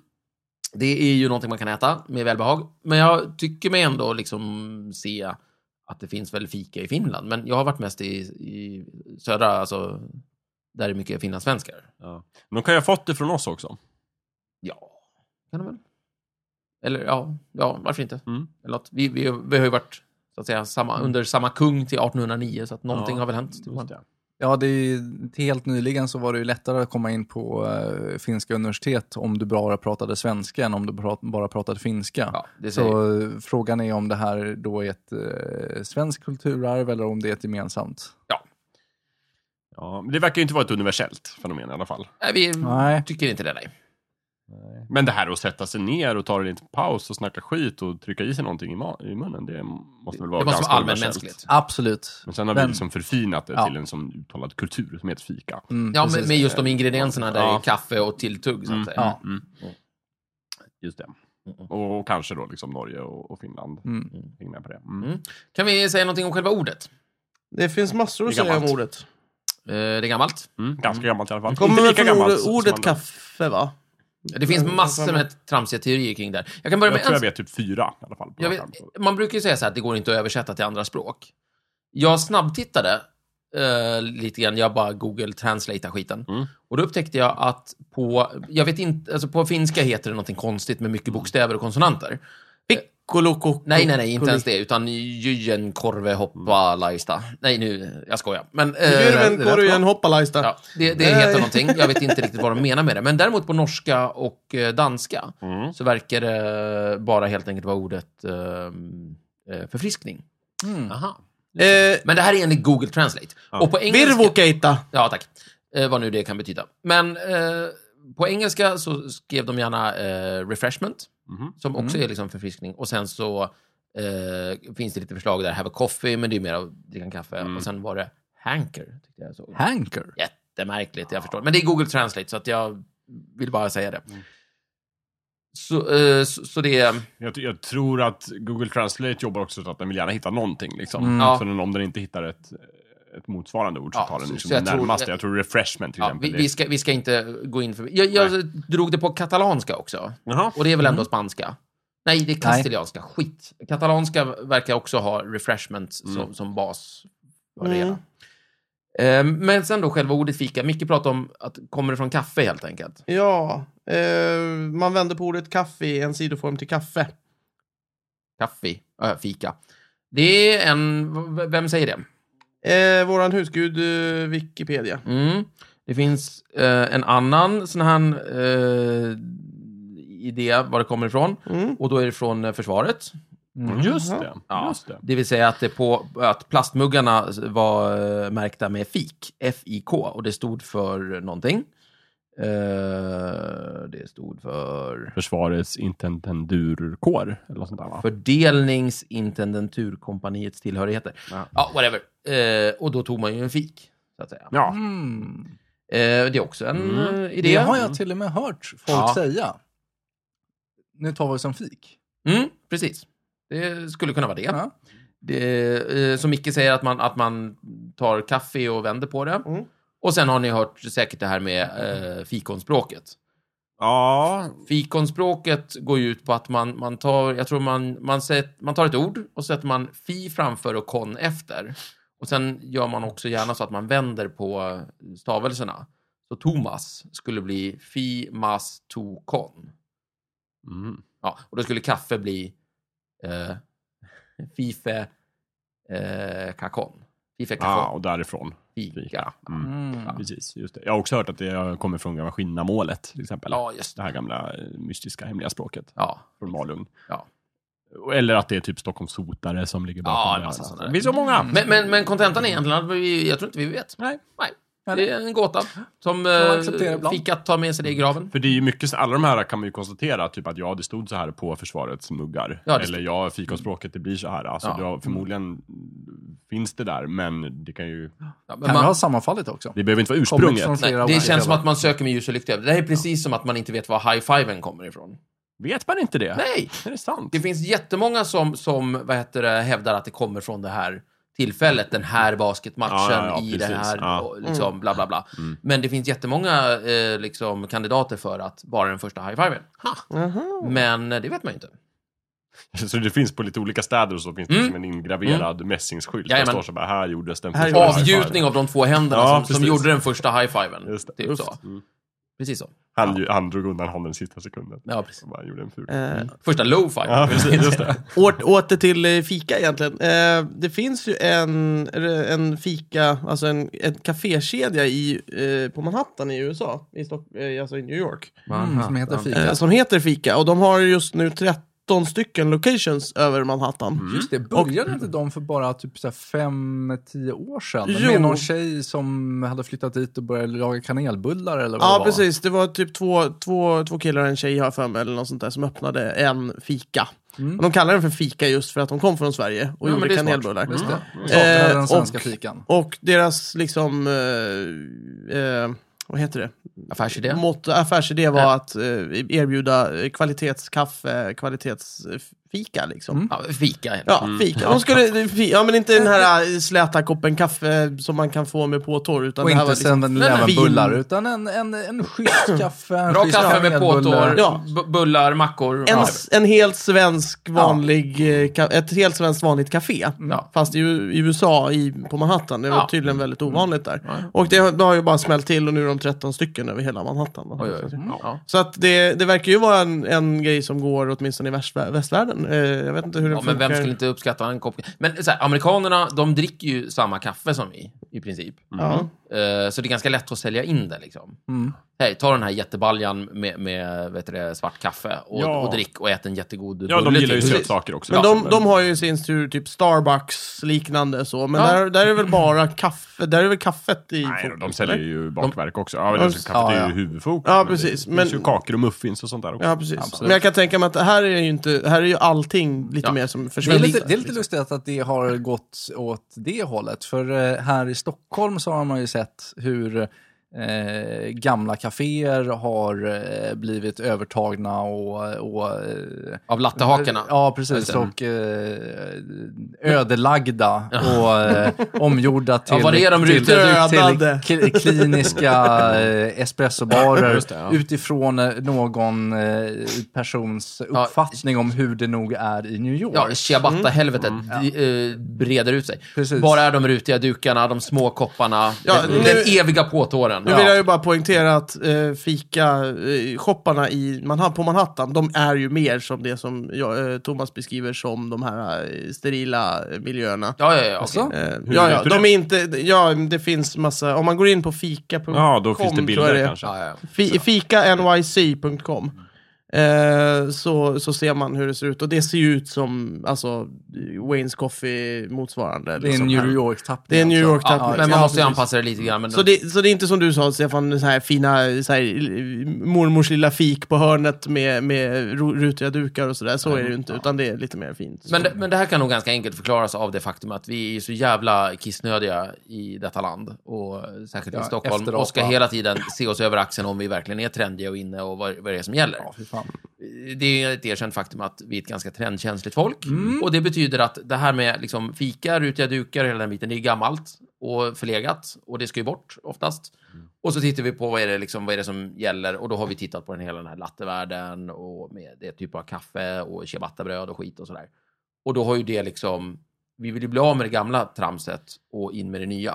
S2: Det är ju någonting man kan äta med välbehag. Men jag tycker mig ändå liksom se att det finns väl fika i Finland. Men jag har varit mest i, i södra, alltså där det är mycket finlandssvenskar.
S3: Ja. Men De kan ju ha fått det från oss också.
S2: Ja, kan de väl? Eller ja, ja varför inte?
S3: Mm.
S2: Eller något. Vi, vi, vi har ju varit så att säga, samma, under samma kung till 1809, så att någonting
S3: Ja,
S2: har väl hänt. typ.
S3: Just det.
S4: Ja, det är ju, till helt nyligen så var det ju lättare att komma in på eh, finska universitet om du bara pratade svenska än om du pra- bara pratade finska.
S2: Ja, det säger
S4: Så eh, frågan är om det här då är ett eh, svenskt kulturarv eller om det är ett gemensamt.
S3: Ja. Men det verkar ju inte vara ett universellt fenomen i alla fall.
S2: Nej, vi
S4: Nej.
S2: tycker inte det, nej.
S3: Men det här att sätta sig ner och ta en liten paus och snacka skit och trycka i sig någonting i, ma- i munnen, det måste väl vara
S2: Det måste
S3: ganska
S2: vara
S3: universellt.
S2: allmänmänskligt.
S4: Absolut.
S3: Men sen har vi
S4: Men-
S3: liksom förfinat det
S4: Ja.
S3: till en sån uttalad kultur som heter fika.
S4: Mm,
S2: Ja, men
S4: precis.
S2: med just de ingredienserna där
S3: Ja.
S2: i kaffe och tilltugg, så att
S3: Mm.
S2: säga.
S4: Ja.
S3: Just det. Och, och kanske då liksom Norge och, och Finland.
S4: Mm.
S3: Häng med på det. Mm.
S2: Mm. Kan vi säga någonting om själva ordet?
S1: Det finns massor att
S3: Det är
S1: säga om
S3: gammalt.
S1: ordet.
S2: Eh, det är gammalt.
S3: Mm. Ganska gammalt i alla fall.
S1: Kommer
S3: Inte
S1: väl
S3: lika
S1: från
S3: gammalt.
S1: ordet,
S3: som- som
S1: ordet
S3: andra.
S1: kaffe, va?
S2: Det finns
S1: Mm,
S2: massor
S1: samma.
S2: med tramsiga teorier kring det här. Jag kan börja
S3: Jag
S2: med
S3: tror jag
S2: en...
S3: vet typ fyra i alla fall. på
S2: Jag
S3: rak
S2: vet,
S3: arm.
S2: man brukar ju säga så här att det går inte att översätta till andra språk. Jag snabbtittade eh, lite grann, jag bara Google translatear skiten.
S3: Mm.
S2: Och då upptäckte jag att på, jag vet inte, alltså på finska heter det någonting konstigt med mycket bokstäver och konsonanter.
S1: Piccolo
S2: Nej, nej, nej, inte ens det, utan jyen, korve, hoppa, lajsta. Nej, nu, jag skojar. Men, eh,
S1: Jyrven Korven Hoppalaista.
S2: Ja, det, det
S1: Nej.
S2: heter någonting. Jag vet inte riktigt vad de menar med det. Men däremot på norska och eh, danska
S3: Mm.
S2: så verkar det bara helt enkelt vara ordet eh, eh, förfriskning.
S4: Mm.
S2: Aha.
S1: Eh,
S2: Men det här är enligt Google Translate.
S3: Ja.
S2: Och på engelska...
S1: Virvokeita.
S2: Ja, tack. Eh, vad nu det kan betyda. Men eh, på engelska så skrev de gärna eh, refreshment,
S3: Mhm.
S2: som också är liksom förfriskning. Och sen så eh, finns det lite förslag där, have a coffee, men det är mer att dricka en kaffe.
S3: Mm.
S2: Och sen var det hanker, tyckte jag såg.
S4: Hanker.
S2: Jättemärkligt, jag förstår. Men det är Google Translate, så att jag vill bara säga det.
S3: Mm.
S2: Så, eh, så, så det är...
S3: Jag, jag tror att Google Translate jobbar också så att den vill gärna hitta någonting. Liksom.
S4: Mm.
S2: Ja.
S3: Så den, om den inte hittar ett, ett motsvarande ord så
S2: Ja,
S3: tar den
S2: så-
S3: liksom
S2: så jag
S3: det
S2: tror-
S3: närmaste. Jag tror refreshment till
S2: Ja, vi,
S3: exempel.
S2: vi, ska, vi ska inte gå in för... Jag, jag drog det på katalanska också.
S3: Jaha. Mm.
S2: Och det är väl ändå spanska? Nej, det är kastilianska. Skit. Katalanska verkar också ha refreshment
S3: Mm.
S2: som, som bas. för det
S1: Mm.
S2: hela. Ehm, Men sen då själva ordet fika. Micke pratade om att kommer det från kaffe helt enkelt.
S1: Ja, eh, man vänder på ordet kaffe i en sidoform till kaffe.
S2: Kaffe. Äh, fika. Det är en... v- Vem säger det?
S1: Eh, våran husgud eh, Wikipedia.
S2: Mm. Det finns eh, en annan sån här eh, idé var det kommer ifrån.
S1: Mm.
S2: Och då är det från eh, försvaret.
S3: Just det.
S2: Mm-hmm. Ja.
S3: Just det.
S2: Det vill säga att, det på, att plastmuggarna var eh, märkta med FIK, F-I-K, och det stod för någonting. Eh, det stod för
S3: Försvarets intendurkår eller något sånt där va?
S2: Fördelningsintendenturkompaniets tillhörigheter.
S3: Ja.
S2: Ja, whatever. Eh, och då tog man ju en fik, så att säga.
S3: Ja.
S4: Mm.
S2: Eh, det är också en
S3: Mm.
S2: eh, idé.
S4: Det har jag till och med hört folk
S2: Ja.
S4: säga. Nu tar vi som fik.
S2: Mm, precis. Det skulle kunna vara det.
S4: Ja.
S2: det eh, som Micke säger, att man, att man tar kaffe och vänder på det.
S1: Mm.
S2: Och sen har ni hört säkert det här med eh, fikonspråket.
S3: ja.
S2: Fikonspråket går ju ut på att man, man tar, jag tror man, man, sätt, man tar ett ord och sätter man fi framför och kon efter. Och sen gör man också gärna så att man vänder på stavelserna. Så Thomas skulle bli fi, mas, to, kon.
S3: Mm.
S2: Ja, och då skulle kaffe bli eh, Fife eh, kakon. Fife
S3: ja,
S2: kakon.
S3: och därifrån.
S2: Fika.
S3: Mm.
S4: Mm.
S3: Precis, just det. Jag har också hört att det kommer från gamla Skinnamålet, till exempel.
S2: Ja, just det.
S3: Det här gamla eh, mystiska hemliga språket
S2: Ja.
S3: från Malung.
S2: Ja.
S3: Eller att det är typ Stockholmssotare som ligger bakom
S2: Ja, en
S3: det.
S2: massa sådana där.
S3: Det finns så många.
S2: Men, men, men kontentan är egentligen att vi, jag tror inte vi vet.
S3: Nej.
S2: Nej. Det är en gåta som
S4: man acceptera
S2: eh,
S4: ibland.
S2: fikat tar med sig det i graven.
S3: För det är ju mycket, så- alla de här kan man ju konstatera, typ att ja, det stod så här på försvarets muggar.
S2: Ja, det
S3: Eller ja, fikonspråket, det blir så här. Alltså,
S2: Ja.
S3: det har, förmodligen finns det där, men det kan ju...
S2: Ja, men
S4: Kan det ha
S2: man,
S4: sammanfallit också?
S3: Det behöver inte vara
S4: Kommit
S3: ursprunget.
S4: från flera
S2: nej, det
S4: olika
S2: känns som
S4: källor.
S2: att man söker med ljus och lykta. Det här är precis som att man inte vet var high-fiven kommer ifrån.
S3: Vet man inte det?
S2: Nej!
S3: Är det sant?
S2: Det finns jättemånga som, som vad heter det, hävdar att det kommer från det här tillfället, den här basketmatchen
S3: Ja, ja, ja,
S2: i
S3: precis.
S2: det här,
S3: Ja. Mm.
S2: och liksom, bla bla bla. Men det finns jättemånga eh, liksom, kandidater för att vara den första high-fiven.
S1: Aha.
S2: Men eh, det vet man ju inte.
S3: Så det finns på lite olika städer och så finns det
S2: Mm.
S3: liksom en ingraverad mässingsskylt. Där
S2: Jajamän.
S3: står så bara, här gjordes den
S1: Här
S3: första
S2: Avgjutning av de två händerna
S3: Ja,
S2: som, som
S3: precis.
S2: gjorde den första high-fiven.
S3: Just det.
S2: Typ
S3: Just.
S2: så.
S3: Mm.
S2: Precis så.
S3: Han, ju- han drog undan handen i sista sekunden.
S2: Ja, precis.
S3: Och bara gjorde en ful.
S1: Eh,
S2: Första low-five.
S3: Ja, precis. Just det.
S1: åter, åter till eh, fika egentligen. Eh, det finns ju en, en fika, alltså en, en kafékedja i, eh, på Manhattan i USA, i Stock, eh, alltså i New York.
S4: Mm, som heter fika.
S1: eh, som heter Fika. Och de har just nu 13 stycken locations över Manhattan.
S4: Just det, började inte de för bara typ så här fem, tio år sedan?
S1: Jo.
S4: Med någon tjej som hade flyttat dit och började laga kanelbullar eller vad det
S1: Ja,
S4: var.
S1: precis. Det var typ två, två, två killar och en tjej, har jag för mig, eller något sånt där, som öppnade en fika.
S4: Mm.
S1: Och de kallar den för Fika just för att de kom från Sverige och
S2: Ja, men
S1: gjorde
S2: det är smart.
S1: kanelbullar.
S4: Just det.
S1: Eh,
S2: Mm.
S4: Saknade den svenska
S1: och-
S4: fikan.
S1: Och deras liksom... Eh, eh, vad heter det?
S2: Affärsidé.
S1: Mått, affärsidé var
S2: Ja.
S1: att eh, erbjuda eh, kvalitetskaffe, kvalitetsfika liksom.
S2: Ja, fika. heter det.
S1: Ja, fika. De skulle, fi- ja, men inte den här eh, släta koppen kaffe som man kan få med påtår. Utan
S4: Och
S1: det här
S4: inte
S1: var liksom,
S4: liksom, sen
S1: nej, nej, vin.
S4: bullar utan en, en, en schysst kaffe, en
S2: Bra
S4: schysst
S2: kaffe med
S4: kanelbullar.
S2: påtår,
S1: Ja.
S2: bu- bullar, mackor.
S1: en,
S2: Ja.
S1: en helt svensk vanlig, eh, ka- ett helt svenskt vanligt café.
S2: Ja.
S1: Fast i, U- i USA, i, på Manhattan. Det var
S2: Ja. Mm.
S1: tydligen väldigt ovanligt där.
S2: Ja.
S1: Och det har, det har ju bara smällt till och nu är de 13 stycken över hela Manhattan.
S2: Oj, oj,
S4: Mm.
S2: oj. Ja.
S1: Så att det, det verkar ju vara en, en grej som går åtminstone i väst, västvärlden. Eh, jag vet inte hur den
S2: Ja, men vem
S1: funkar.
S2: skulle inte uppskatta en kopp Men så här, amerikanerna, de dricker ju samma kaffe som vi, i princip.
S1: ja.
S2: Eh, så det är ganska lätt att sälja in det. Liksom.
S4: Mm.
S2: Hej, ta den här jättebaljan med, med vet du det, svart kaffe och,
S3: Ja.
S2: och drick och ät en jättegod
S3: Ja, de
S2: bulle
S3: gillar ju
S2: till.
S3: sötsaker också.
S1: Men
S3: Ja,
S1: de, de har ju i sin tur typ Starbucks liknande så, men
S2: Ja.
S1: där, där är väl bara kaffe, där är väl kaffet i
S3: Nej,
S1: fokus,
S3: de säljer
S1: eller?
S3: ju bakverk också. Ja, men det är så-
S4: Ja,
S3: kaffet är ju
S4: ja.
S3: huvudfokus.
S1: Ja,
S3: men
S1: precis,
S3: Det finns
S1: men-
S3: ju kakor och muffins och sånt där också.
S1: Ja, precis.
S4: Absolut.
S1: Men jag kan tänka mig att det här är ju inte, här är ju allting lite
S2: Ja.
S1: mer som
S4: Det är,
S1: försvinner.
S4: lite, det är lite lustigt att det har gått åt det hållet. För eh, här i Stockholm så har man ju sett hur eh, gamla kaféer har eh, blivit övertagna och... och eh,
S2: Av lattehakorna.
S4: Ja,
S2: Just
S4: precis.
S2: det.
S4: Och eh, ödelagda och eh, omgjorda till,
S2: vad det är de
S4: till,
S1: ryktar.
S4: till, till k- kliniska eh, espressobarer
S3: Just det, ja.
S4: utifrån eh, någon eh, persons uppfattning om hur det nog är i New York.
S2: Ja, ciabatta-helvetet di- eh, breder ut sig.
S4: Precis.
S2: Bara de rutiga dukarna, de små kopparna,
S1: Ja,
S2: den,
S1: nu-
S2: den eviga påtåren. den.
S1: Nu vill jag ju bara poängtera att eh, fika-shopparna i Manha- på Manhattan, de är ju mer som det som jag, eh, Thomas beskriver som de här eh, sterila eh, miljöerna.
S2: Ja, ja, ja. okej.
S4: Alltså?
S1: Eh, ja, ja,
S3: vet du
S1: de
S3: det?
S1: är inte, ja, det finns massa, om man går in på fika.com
S3: Ja, då finns det
S1: tror jag
S3: bilder
S1: är.
S3: kanske.
S2: Ja, ja, ja.
S1: Fi- fikanyc.com eh, så, så ser man hur det ser ut. Och det ser ju ut som alltså, Wayne's Coffee motsvarande.
S4: Det är
S1: liksom.
S4: en New York-tappning.
S1: Det är en New
S4: alltså.
S1: York-tappning.
S2: Ja, men man
S1: Ja,
S2: måste ju
S1: precis.
S2: anpassa det lite grann. Men
S1: Så det, så det är inte som du sa Stefan, så här fina så här, mormors lilla fik på hörnet med, med ro- rutiga dukar och sådär. Så är det ju inte, utan det är lite mer fint.
S2: Men det, men det här kan nog ganska enkelt förklaras av det faktum att vi är så jävla kissnödiga i detta land. Och särskilt i
S4: Ja,
S2: Stockholm.
S4: efterapa.
S2: Och ska hela tiden se oss över axeln om vi verkligen är trendiga och inne och vad, vad det är som gäller.
S4: Ja, fy fan.
S2: Det är ju ett erkänt faktum att vi är ett ganska trendkänsligt folk. Och det betyder att det här med liksom fika, rutiga dukar, hela den biten, det är gammalt och förlegat. Och det ska ju bort oftast. Och så tittar vi på vad är, det liksom, vad är det som gäller och då har vi tittat på den hela den här lattevärlden och med det typ av kaffe och ciabattabröd och skit och sådär. Och då har ju det liksom, vi vill ju bli av med det gamla tramset och in med det nya.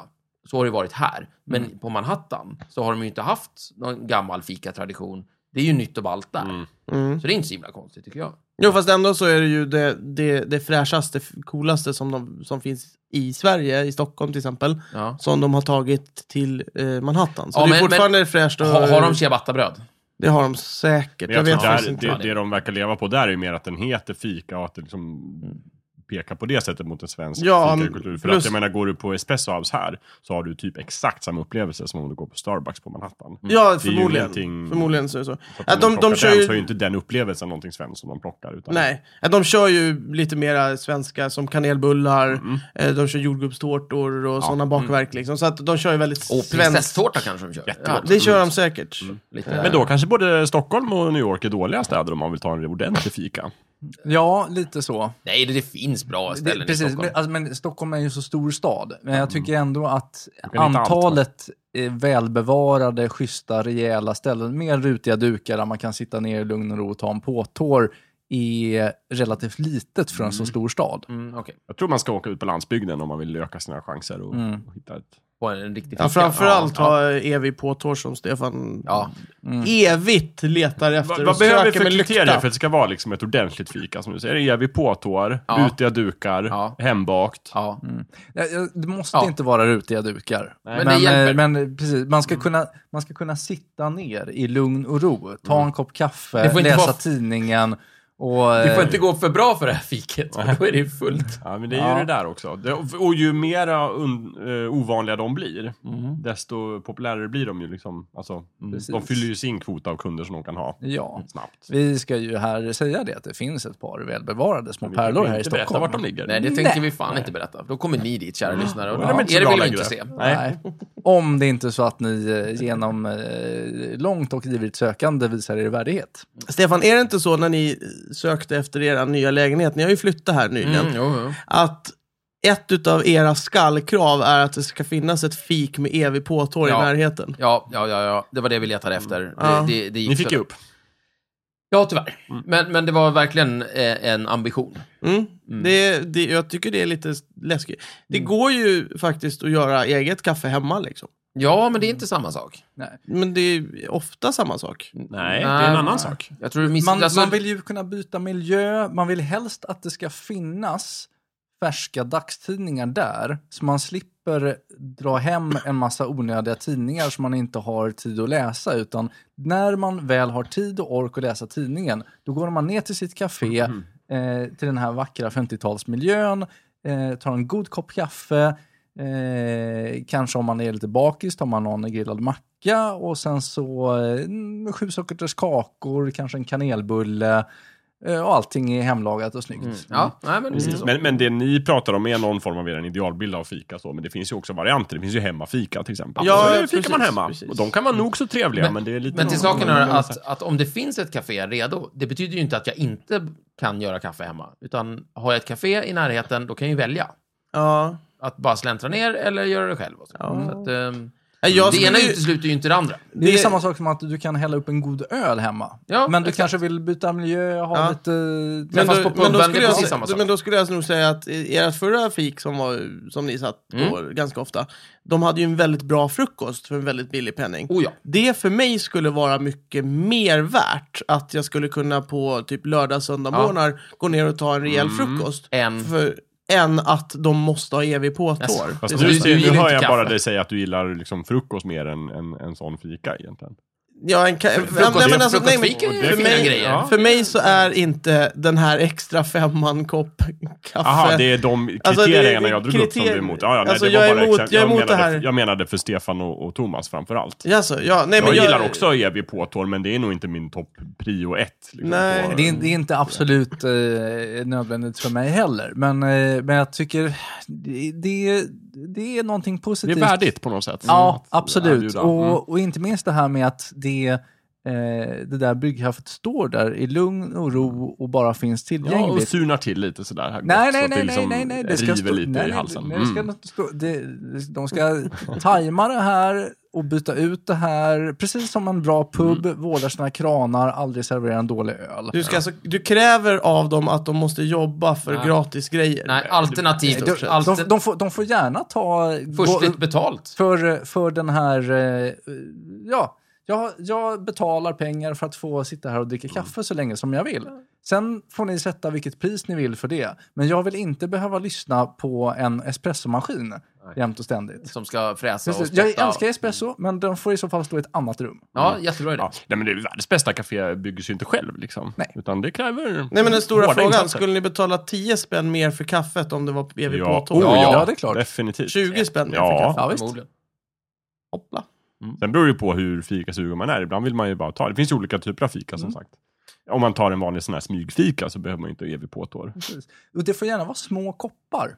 S2: Så har det varit här. Men på Manhattan så har de ju inte haft någon gammal fikatradition. Det är ju nytt och ballt där.
S3: Mm.
S1: Mm.
S2: Så det är inte så himla konstigt tycker jag.
S1: Jo, fast ändå så är det ju det, det, det fräschaste, f- coolaste som, de, som finns i Sverige, i Stockholm till exempel,
S2: Ja.
S1: som de har tagit till eh, Manhattan. Så
S2: Ja,
S1: det är
S2: men-
S1: fortfarande fräscht. Och,
S2: Har, har de ciabattabröd?
S1: Det har de säkert.
S3: Men
S1: Jag,
S3: jag
S1: vet
S3: tror
S1: faktiskt
S3: där,
S1: inte.
S3: det, det de verkar leva på där är ju mer att den heter fika och att det liksom pekar på det sättet mot en svensk
S1: Ja,
S3: fikakultur. För
S1: plus-
S3: att jag menar, går du på Espresso House här så har du typ exakt samma upplevelse som om du går på Starbucks på Manhattan.
S1: Ja,
S3: ju
S1: förmodligen.
S3: ingenting-
S1: Förmodligen så är det så.
S3: Så
S1: Att
S3: att
S1: de-
S3: de,
S1: de
S3: de,
S1: kör
S3: den
S1: ju-
S3: så är ju inte den upplevelsen någonting svenskt som de plockar. Utan
S1: Nej, att de kör ju lite mera svenska som kanelbullar, eh, de kör jordgubbstårtor och sådana bakverk liksom. Så att de kör ju väldigt
S2: Och
S1: svenskt.
S2: prinsesstårta kanske de kör?
S3: Jättegott.
S1: Det kör de säkert.
S2: lite,
S3: Men då kanske både Stockholm och New York är dåliga städer om man vill ta en ordentlig fika.
S4: Ja, lite så.
S2: Nej, det, det finns bra ställen
S4: Det,
S2: i
S4: precis, men,
S2: Stockholm. Mm.
S4: alltså, men Stockholm är ju en så stor stad. Men jag tycker ändå att
S3: kan hitta allt,
S4: antalet eh, välbevarade, schyssta, rejäla ställen med rutiga dukar där man kan sitta ner i lugn och ro och ta en påtår är relativt litet för en så stor stad.
S2: Mm, okej.
S3: Jag tror man ska åka ut på landsbygden om man vill öka sina chanser och, och hitta ett...
S2: På en riktig fika.
S1: Ja, framförallt
S2: Ja,
S1: ha evig påtår som Stefan
S2: Ja.
S1: evigt letar efter.
S3: Vad,
S1: och
S3: vad behöver vi
S1: söker
S3: för
S1: med lykta.
S3: kriterier för att det ska vara liksom ett ordentligt fika? Som du säger, evig påtår,
S2: Ja.
S3: rutiga dukar,
S2: Ja.
S3: hembakt.
S2: ja.
S4: Ja, ja, Det måste
S2: Ja.
S4: inte vara rutiga dukar.
S2: Men det
S4: Men, eh,
S2: hjälper. Mm.
S4: men, eh, precis, man, ska kunna, man ska kunna sitta ner i lugn och ro, ta en kopp
S2: Mm. Det
S4: kaffe,
S2: får inte
S4: läsa
S2: vara-
S4: tidningen och...
S2: Det får
S4: eh,
S2: inte gå för bra för det här fiket, för då är det ju fullt.
S3: Ja, men det är ju det där också. Det, och ju mera un, eh, ovanliga de blir, desto populärare blir de ju. Liksom. Alltså, de
S4: Precis.
S3: fyller ju sin kvot av kunder som de kan ha
S4: Ja.
S3: snabbt.
S4: Vi ska ju här säga det, att det finns ett par välbevarade små
S3: Vi
S4: pärlor
S3: kan
S4: här i
S3: inte berätta
S4: Stockholm.
S3: vart de ligger.
S2: Nej, det tänker vi fan inte berätta. Då kommer ni dit, kära lyssnare. Och
S3: Då är de
S2: ja.
S3: inte
S2: er
S3: så bra
S2: vill vi
S3: längre.
S2: inte se. Mm.
S3: Nej.
S4: Nej. Om det inte är så att ni eh, genom eh, långt och ivrigt sökande visar er värdighet.
S1: Stefan, är det inte så när ni sökte efter era nya lägenhet, ni har ju flyttat här nyligen,
S2: Mm, jo, jo.
S1: att ett utav era skallkrav är att det ska finnas ett fik med evig påtår
S2: Ja.
S1: i närheten.
S2: Ja, ja, ja, ja, det var det vi letade efter. Det,
S1: Ja.
S2: det, det gick
S3: Ni fick
S2: för-
S3: ju upp.
S2: Ja, tyvärr. Men, men det var verkligen eh, en ambition.
S1: Mm. Det, det, jag tycker det är lite läskigt. Det
S2: Mm.
S1: går ju faktiskt att göra eget kaffe hemma liksom.
S2: Ja, men det är inte samma sak.
S4: Nej.
S1: Men det är ofta samma sak.
S2: Mm.
S3: Nej, det är en annan sak.
S2: Jag tror alltså- du missade...
S4: Man, man vill ju kunna byta miljö, man vill helst att det ska finnas färska dagstidningar där, så man slipper dra hem en massa onödiga tidningar som man inte har tid att läsa, utan när man väl har tid och ork att läsa tidningen, då går man ner till sitt café, eh, till den här vackra 50-talsmiljön, eh, tar en god kopp kaffe, Eh, kanske om man är lite bakis tar man någon grillad macka och sen så eh, mm, sju sockerters kakor, kanske en kanelbulle eh, och allting är hemlagat och snyggt.
S2: Ja, nej,
S3: Mm.
S2: men precis så.
S1: Mm.
S3: Men, men det ni pratar om är någon form av er idealbild av fika. Så. Men det finns ju också varianter. Det finns ju hemmafika till exempel.
S1: Ja,
S3: Då är det
S1: ja,
S3: fikar man
S1: precis,
S3: hemma.
S1: precis.
S3: Och de kan vara nog så trevliga, men,
S2: Men-
S3: det är lite...
S2: Men till saken är att, att om det finns ett café redo, det betyder ju inte att jag inte kan göra kaffe hemma. Utan har jag ett café i närheten, då kan jag ju välja.
S1: Ja.
S2: Att bara släntra ner eller göra det själv. Och så.
S1: Ja.
S2: Så att, ehm,
S1: Nej, Jag
S2: Det ena
S1: skulle ju-
S2: utesluter ju inte det andra.
S4: Det är samma sak som att du kan hälla upp en god öl hemma.
S2: Ja,
S4: men du
S2: exakt.
S4: kanske vill byta miljö, ha
S1: Ja.
S4: lite...
S2: Men
S1: Men,
S2: fast
S1: då,
S2: på
S1: men,
S2: pumpen,
S1: då
S2: det är
S1: skulle jag,
S2: precis samma sak.
S1: men då skulle jag nog säga att i- ert förra fik som, var, som ni satt
S2: Mm.
S1: på ganska ofta, de hade ju en väldigt bra frukost för en väldigt billig penning.
S2: Oh ja.
S1: Det för mig skulle vara mycket mer värt att jag skulle kunna på typ lördag, söndag
S2: Ja. Mm.
S1: morgnar gå ner och ta en rejäl frukost.
S2: En.
S1: För, än att de måste ha evig
S2: Jaså.
S1: påtår.
S3: Fast
S2: Det-
S3: nu,
S2: du- du
S3: nu
S2: gillar
S3: hör
S2: inte
S3: jag
S2: kaffe.
S3: bara dig säga att du gillar liksom frukost mer än en, en sån fika egentligen.
S1: Ja, en ka-
S2: Frukost,
S1: nej, men alltså, nej, men-
S2: frukostfika är ju
S3: för
S2: fina
S1: mig-
S2: grejer.
S3: ja.
S1: För mig så är inte den här extra femman kopp kaffe...
S3: Aha, det är de kriterierna
S1: Alltså, det är- det är
S3: jag drog upp som du är
S1: kriterier-
S3: emot. Ja, ja, nej,
S1: Alltså,
S3: det var
S1: jag är
S3: bara
S1: emot-
S3: exempel.
S1: jag är emot det
S3: menade,
S1: här.
S3: Jag menade för Stefan och, och Thomas framförallt.
S1: Jaså, ja, nej, men
S3: Jag, gillar också evig påtår, men det är nog inte min topp prio ett. Liksom,
S1: Nej.
S3: på-
S4: Det är, det är inte absolut eh, nödvändigt för mig heller, men, eh, men jag tycker det, det, det är någonting
S3: det är
S4: positivt.
S3: värdigt på något sätt.
S4: Ja,
S3: Att
S4: absolut.
S3: erbjuda. Mm.
S4: Och, och inte minst det här med att det, eh, det där byggkaffet står där i lugn och ro och bara finns
S3: Ja, och
S4: tillgängligt.
S3: surnar till lite sådär. Här
S4: Nej,
S3: gott, så
S4: nej,
S3: att
S4: nej,
S3: det
S4: nej,
S3: liksom
S4: nej, nej, det ska
S3: river
S4: stå,
S3: lite
S4: nej,
S3: i
S4: nej,
S3: halsen.
S4: Nej, det ska
S3: mm.
S4: inte stå, det, de ska tajma det här och byta ut det här, precis som en bra pub
S3: Mm.
S4: vårdar sina kranar, aldrig serverar en dålig öl.
S1: Du, ska alltså, du kräver av dem att de måste jobba för
S2: Nej.
S1: gratis grejer.
S2: Nej, alternativt.
S4: De, de,
S2: alter,
S4: de, får, de får gärna ta...
S2: förstligt betalt.
S4: för, för den här... eh, Ja, jag, jag betalar pengar för att få sitta här och
S3: Mm.
S4: dricka kaffe så länge som jag vill. Sen får ni sätta vilket pris ni vill för det. Men jag vill inte behöva lyssna på en espressomaskin jämt och ständigt.
S2: Som ska fräsa och Mm.
S4: Precis,
S2: spotta.
S4: jag älskar espresso, men den får i så fall stå i ett annat rum.
S2: Ja, jättebra idé.
S3: Ja, nej, men det är världens bästa café byggs ju inte själv liksom.
S4: Nej.
S3: Utan det kräver
S1: Nej men den stora
S3: hårda
S1: frågan,
S3: insatser.
S1: skulle ni betala 10 spänn mer för kaffet om det var evig
S3: Ja,
S1: påtår?
S4: Oh, ja, det är klart.
S3: Definitivt.
S1: 20 spänn mer för
S3: Ja.
S1: kaffet?
S4: Ja, visst.
S2: Förmodligen.
S1: Hoppla.
S3: Sen beror det ju på hur fikasugen man är. Ibland vill man ju bara ta, det finns ju olika typer av fika
S4: Mm.
S3: som sagt. Om man tar en vanlig sån här smygfika så behöver man ju inte evig påtår.
S4: Precis. Och det får gärna vara små koppar.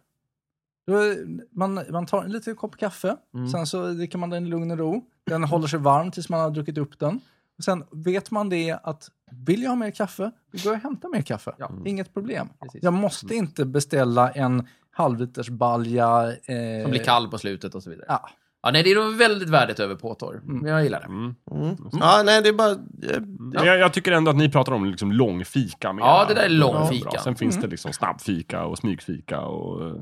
S4: Då är- Man, man tar en liten kopp kaffe,
S2: Mm.
S4: sen så dricker man den i lugn och ro. Den håller sig varm tills man har druckit upp den. Och sen vet man det att vill jag ha mer kaffe, då går jag och hämtar mer kaffe. Mm.
S2: Ja.
S4: Inget problem.
S2: Precis. Mm.
S4: Jag måste inte beställa en halvliters balja. Eh,
S2: Som blir kall på slutet och så vidare.
S4: Ja.
S2: Ja, nej, det är nog väldigt värdigt över påtår. Men jag gillar det.
S3: Mm.
S1: Mm. Ja, nej det är bara... eh,
S3: Men jag, jag tycker ändå att ni pratar om liksom lång fika. mera.
S2: Ja, det där är lång
S3: bra.
S2: fika.
S3: Sen
S4: Mm.
S3: finns det liksom snabbfika och smygfika och... eh,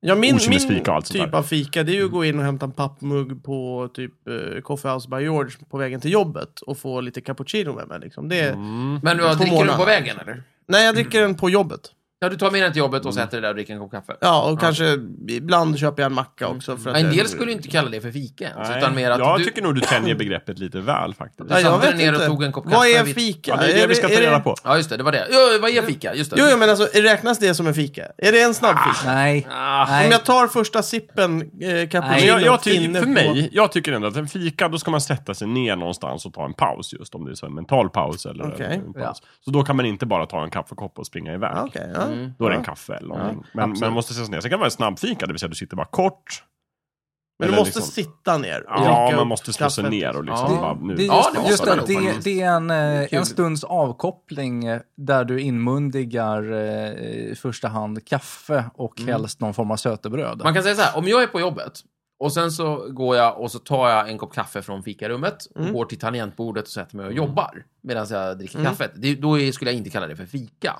S1: Ja, min min
S3: Okynnesfika och allt sånt
S1: typ
S3: där. Mm.
S1: av fika det är ju att gå in och hämta en pappmugg på typ eh, Coffee House by George på vägen till jobbet och få lite cappuccino med mig. Liksom. Det är...
S3: Mm.
S2: Men vad,
S1: På
S2: dricker du
S1: morgonen.
S2: på vägen eller?
S1: Nej, jag dricker den på jobbet.
S2: Ja, du tar med den till jobbet och så äter du där och dricker en kopp kaffe.
S1: Ja, och kanske ibland köper jag en macka också. För att
S2: Ja, en
S1: jag-
S2: del skulle ju inte kalla det för fika ens,
S3: Nej,
S2: Alltså, utan mer att
S3: jag
S2: du...
S3: tycker nog du tänjer begreppet lite väl faktiskt.
S1: Ja,
S2: satte
S1: jag
S2: dig
S1: vet
S2: ner och
S1: inte.
S2: tog en kopp
S1: Vad
S2: kaffe
S1: är
S2: vid-
S1: fika?
S3: Ja, det är det vi ska ta reda på.
S2: Ja, just det, det var det. Ja, vad är fika? Just det.
S1: Jo, jo, men alltså räknas det som en fika? Är det en snabbfika?
S4: Nej.
S2: Ah,
S1: Om
S4: Nej.
S1: jag tar första sippen eh,
S4: Nej,
S1: cappuccino
S3: Men jag, jag
S1: inne
S3: tycker, för
S1: på-
S3: mig, jag tycker ändå att en fika, då ska man sätta sig ner någonstans och ta en paus just. Om det är så en mental paus eller
S1: Okej.
S3: en paus. Så då kan man inte bara ta en kaffekopp och springa iväg.
S1: Ja, Okej, ja.
S2: Mm.
S3: Då är det en
S1: Ja.
S3: kaffe eller någonting. men
S2: absolut.
S3: man måste sätta sig ner. Sen kan det vara en snabbfika, det vill säga du sitter bara kort.
S1: Men du
S3: Eller
S1: måste
S3: liksom-
S1: sitta ner. och
S3: Ja,
S1: dricka
S3: man
S1: upp
S3: måste slå sig
S1: kaffet.
S3: ner och liksom
S2: Ja.
S3: bara nu.
S4: Det är
S2: Ja,
S4: just,
S2: det måste
S4: just
S2: man
S4: det,
S2: nog
S4: det,
S2: faktiskt.
S4: det är en, eh,
S2: Kul.
S4: en stunds avkoppling eh, där du inmundigar eh, i första hand kaffe och helst någon form av sötebröd.
S2: Man kan säga så här, om jag är på jobbet och sen så går jag och så tar jag en kopp kaffe från fikarummet och går till tangentbordet och sätter mig och jobbar medan jag dricker kaffet. Det, då är- skulle jag inte kalla det för fika.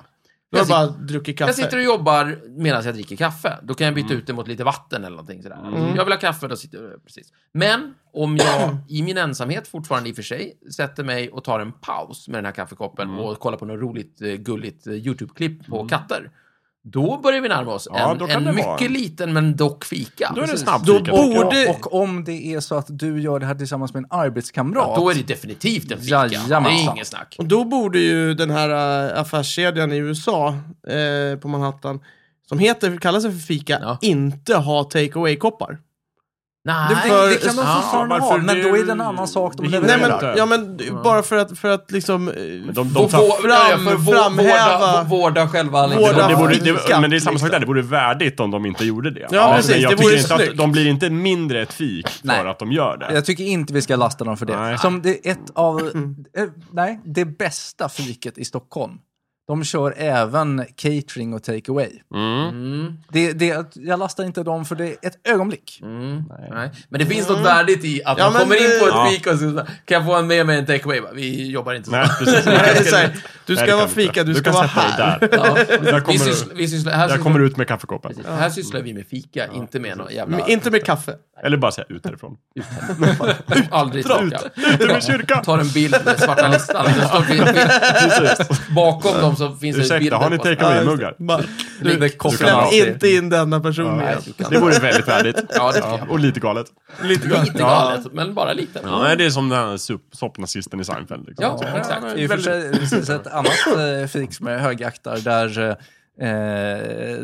S1: Då har
S2: Jag,
S1: du bara druckit
S2: sit-
S1: kaffe.
S2: jag sitter och jobbar medan jag dricker kaffe. Då kan jag byta
S3: Mm.
S2: ut det mot lite vatten eller någonting sådär. Jag vill ha kaffe, då sitter jag... Precis. Men om
S3: Mm.
S2: jag i min ensamhet, fortfarande i och för sig, sätter mig och tar en paus med den här kaffekoppen
S3: Mm.
S2: och kollar på något roligt, eh, gulligt eh, YouTube-klipp på katter. Då börjar vi närma oss
S3: Ja, då
S2: en,
S3: kan det
S2: en
S3: vara
S2: mycket
S3: en-
S2: liten men dock fika.
S3: Då är det en
S2: Precis.
S1: Då
S3: snabbfika. tycker jag.
S1: borde...
S4: Och, och om det är så att du gör det här tillsammans med en arbetskamrat.
S2: Ja, då är det definitivt en fika.
S4: Jajamensan.
S2: Det är inget snack.
S1: Och då borde ju den här äh, affärskedjan i USA eh, på Manhattan, som heter, kallar sig för fika,
S2: Ja.
S1: inte ha take away-koppar.
S2: Nej,
S1: Det är för-
S4: det kan de
S2: Ja,
S4: fortfarande
S3: varför
S4: ha, men
S3: det-
S4: då är det en annan sak de
S3: Nej,
S1: Nej
S4: levererar.
S1: men, ja men d- bara för att, för att liksom... eh,
S3: De,
S2: Vå-
S3: de tar,
S2: vå- ja, för vå-
S1: framhäva-
S2: vårda- vårda själva... liksom.
S1: Vårda-
S3: det borde, det,
S1: Skatt,
S3: men det är samma
S1: liksom.
S3: sak där, det vore värdigt om de inte gjorde det.
S1: Ja,
S3: men
S1: precis,
S3: jag
S1: det
S3: tycker
S1: vore
S3: inte
S1: snyggt.
S3: att, de blir inte mindre ett fik för
S4: Nej.
S3: att de gör det.
S4: Jag tycker inte vi ska lasta dem för det.
S3: Nej.
S4: Som det är ett av, eh, nej, det bästa fiket i Stockholm. De kör även catering och takeaway.
S3: Mm.
S2: Mm.
S4: Det, det, jag lastar inte dem för det ett ögonblick.
S2: Mm. Nej. Men det finns något värdigt i att
S1: Mm. Ja,
S2: man
S1: men
S2: kommer
S1: det-
S2: in på ett
S3: Ja.
S2: fik och så kan jag få en med mig en takeaway? Bara, Vi jobbar inte så.
S3: Nej, precis.
S1: Nej, det är så här, du
S3: Nej,
S1: ska
S3: det kan
S1: vara
S3: vi inte.
S1: fika, du, ska
S3: kan
S1: vara
S3: sätta dig
S1: här.
S3: Där.
S2: Ja.
S3: Där
S2: Vi
S3: kommer,
S2: sysslar,
S3: du,
S2: vi sysslar, här,
S3: där
S2: sysslar,
S3: kommer du ut med kaffekoppen.
S2: precis. här sysslar vi med fika, inte med någon jävla...
S1: Men inte med kaffe.
S3: Eller bara säga ut härifrån.
S2: aldrig tillbaka.
S3: Ut ur min kyrka!
S2: Tar en bild med svarta listan. Det står, vi, vi, bakom dem så finns det
S3: Ursäkta,
S2: bilder
S3: har ni
S2: på oss.
S1: Ja, just
S3: takeaway-muggar?
S1: det. Bara,
S2: Det ligger
S3: kan
S1: Släpp
S3: ha-
S2: kopplar
S1: inte in denna person igen.
S3: Det vore väldigt värdigt.
S2: Ja, det tycker jag.
S3: Och lite galet.
S1: Lite grann.
S2: Lite galet, men bara lite.
S3: Ja, men det är som den här sup- soppnazisten i Seinfeld. Liksom.
S2: Ja, exakt.
S4: I och för sig precis ett annat eh, fik som jag högaktar där eh,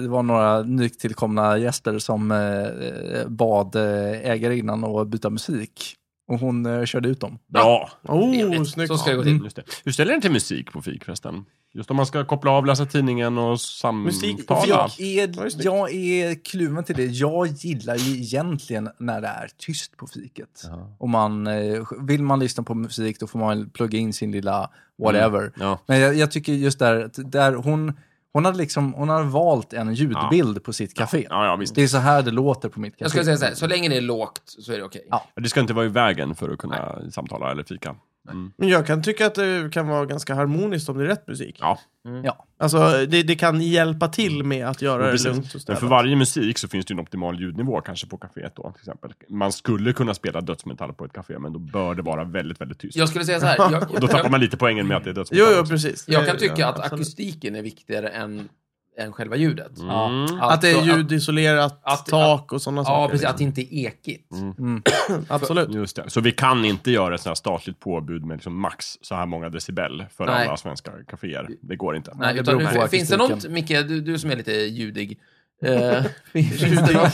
S4: det var några nytillkomna gäster som eh, bad eh, ägarinnan att byta musik. Och hon eh, körde ut dem.
S3: Bra.
S1: Oh,
S2: Trevligt.
S1: snyggt.
S2: Så ska det gå till.
S3: Mm. Just det. Hur ställer ni till musik på fik förresten? Just om man ska koppla av, läsa tidningen och samtala.
S1: Musik på fik.
S3: Ja.
S4: Jag är, jag är kluven till det. Jag gillar ju egentligen när det är tyst på fiket. Och man, eh, vill man lyssna på musik då får man väl plugga in sin lilla whatever.
S3: Mm. Ja.
S4: Men jag, jag tycker just där, att där hon, hon, hade liksom, hon hade valt en ljudbild på sitt café.
S3: Ja, ja, visst.
S4: Det är så här det låter på mitt
S2: Jag
S4: café.
S2: skulle säga så här, så länge det är lågt så är det okej.
S4: Ja.
S3: Det ska inte vara i vägen för att kunna samtala eller fika. Mm.
S1: Men jag kan tycka att det kan vara ganska harmoniskt om det är rätt musik.
S3: Ja,
S1: Alltså, det, det kan hjälpa till med att göra det lugnt och
S3: precis. liksom- Men för
S1: städat.
S3: varje musik så finns det ju en optimal ljudnivå kanske på kaféet då, till exempel. Man skulle kunna spela dödsmetall på ett kafé, men då bör det vara väldigt, väldigt tyst.
S2: Jag skulle säga så här, jag,
S3: Och
S2: jag,
S3: då tappar
S2: jag,
S3: man lite poängen med att det är
S1: Jo,
S3: dödsmetall.
S1: jo, precis.
S2: jag kan
S1: Det-
S2: tycka att
S1: absolut.
S2: akustiken är viktigare än, än själva ljudet.
S3: Mm.
S1: Att det är
S2: Alltså,
S1: ljudisolerat,
S2: att-
S1: tak och sådana
S2: Ja,
S1: saker. liksom.
S2: precis. Mm, Att det inte är ekigt.
S1: Absolut.
S3: Just det. Så vi kan inte göra ett sånt här statligt påbud med liksom max så här många decibel för
S2: Nej.
S3: alla svenska kaféer. Det går inte.
S2: Nej,
S4: det
S2: utan,
S4: beror på
S2: finns det något,
S4: akustiken.
S2: Micke, du, du som är lite ljudig. eh, finns, det något,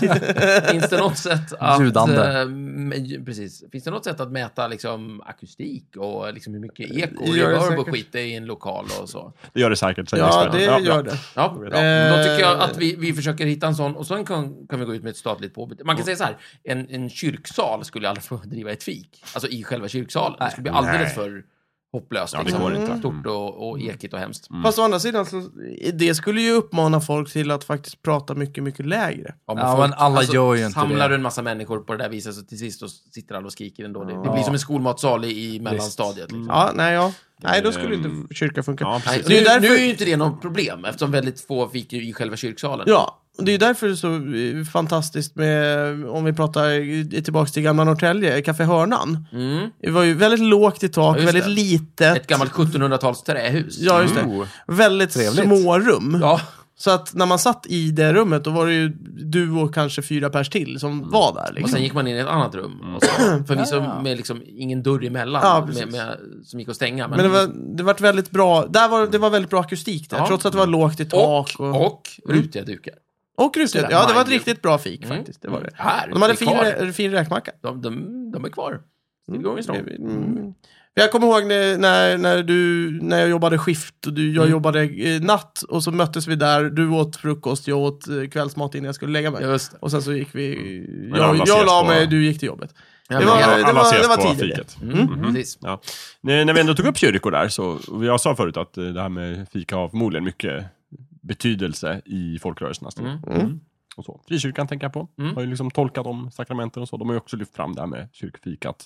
S2: finns det något sätt att...
S4: Ljudande.
S2: eh, m- precis. Finns det något sätt att mäta liksom, akustik och liksom, hur mycket eko och
S1: gör det
S2: reverb och
S1: säkert.
S2: skit det är i en lokal och så?
S3: Det gör det säkert, säger
S1: Ja,
S3: experterna.
S1: det gör det.
S2: Ja, bra. Mm.
S1: Eh.
S2: Då tycker jag att vi, vi försöker hitta en sån och sen kan, kan vi gå ut med ett statligt påbud. Man kan säga så här, en, en kyrksal skulle aldrig få driva ett fik. Alltså i själva kyrksalen. Det skulle bli alldeles för hopplöst. liksom.
S3: Ja, det går inte.
S2: Stort och, och ekigt och hemskt.
S1: Fast å andra sidan, så, det skulle ju uppmana folk till att faktiskt prata mycket, mycket lägre.
S4: Ja, men alla gör ju
S2: alltså,
S4: inte
S2: samlar
S4: det.
S2: du en massa människor på det där viset så till sist så sitter alla och skriker ändå. Det, det blir som en skolmatsal i, i mellanstadiet. Liksom.
S1: Ja, nej, ja. Nej, då skulle
S2: Mm.
S1: inte kyrka funka.
S3: Ja,
S2: Nej,
S3: precis.
S1: Mm. Det är
S2: nu,
S1: därför-
S2: nu är ju inte det något problem eftersom väldigt få fick ju i själva kyrksalen.
S1: Ja, och det är ju därför det är så eh, fantastiskt med, om vi pratar tillbaka till gamla Norrtälje, Café Hörnan.
S2: Mm.
S1: Det var ju väldigt lågt i tak,
S2: Ja, just
S1: väldigt
S2: det.
S1: litet.
S2: Ett gammalt 1700-tals trähus.
S1: Ja, just det.
S4: Oh.
S1: Väldigt
S4: Trevligt.
S1: små rum.
S2: Ja.
S1: Så att när man satt i det rummet, då var det ju du och kanske fyra pers till som var där.
S2: Mm. Och
S1: Liksom.
S2: sen gick man in i ett annat rum. Och så, förvisso
S4: Ja, ja.
S2: med liksom ingen dörr emellan
S1: Mm. Ja, precis.
S2: med, med, som gick att stänga. Men,
S1: Men det var, det var väldigt bra, där var, det var väldigt bra akustik där,
S2: Ja.
S1: trots att det var lågt i tak. Mm.
S2: och, och, rutiga dukar.
S1: och rutor. Ja, det var ett riktigt bra fik
S2: Mm.
S1: faktiskt. Det var det.
S2: Här,
S1: De hade
S2: det är
S1: fin,
S2: kvar.
S1: rä- fin räkmacka.
S2: De, de, de är kvar. Tillgången är strong.
S1: Mm. Jag kommer ihåg när, när, när, du, när jag jobbade skift och du, jag
S2: Mm.
S1: jobbade eh, natt och så möttes vi där. Du åt frukost, jag åt eh, kvällsmat innan jag skulle lägga mig.
S2: Just det.
S1: Och sen så gick vi...
S2: Mm.
S3: Men alla
S1: Jag, jag
S3: ses
S1: la
S3: på-
S1: mig, du gick till jobbet.
S2: Ja,
S1: Det
S2: men-
S1: var-
S3: Alla
S1: det
S3: ses
S1: var
S3: på
S1: tidigare.
S3: fiket.
S2: Mm, precis.
S3: Ja. När när vi ändå tog upp kyrkor där, så och jag sa förut att eh, det här med fika har förmodligen mycket betydelse i folkrörelsernas liv. Mm. Och så. Frikyrkan tänker jag på. Har ju liksom tolkat om sakramenten och så. De har ju också lyft fram det här med kyrkfikat.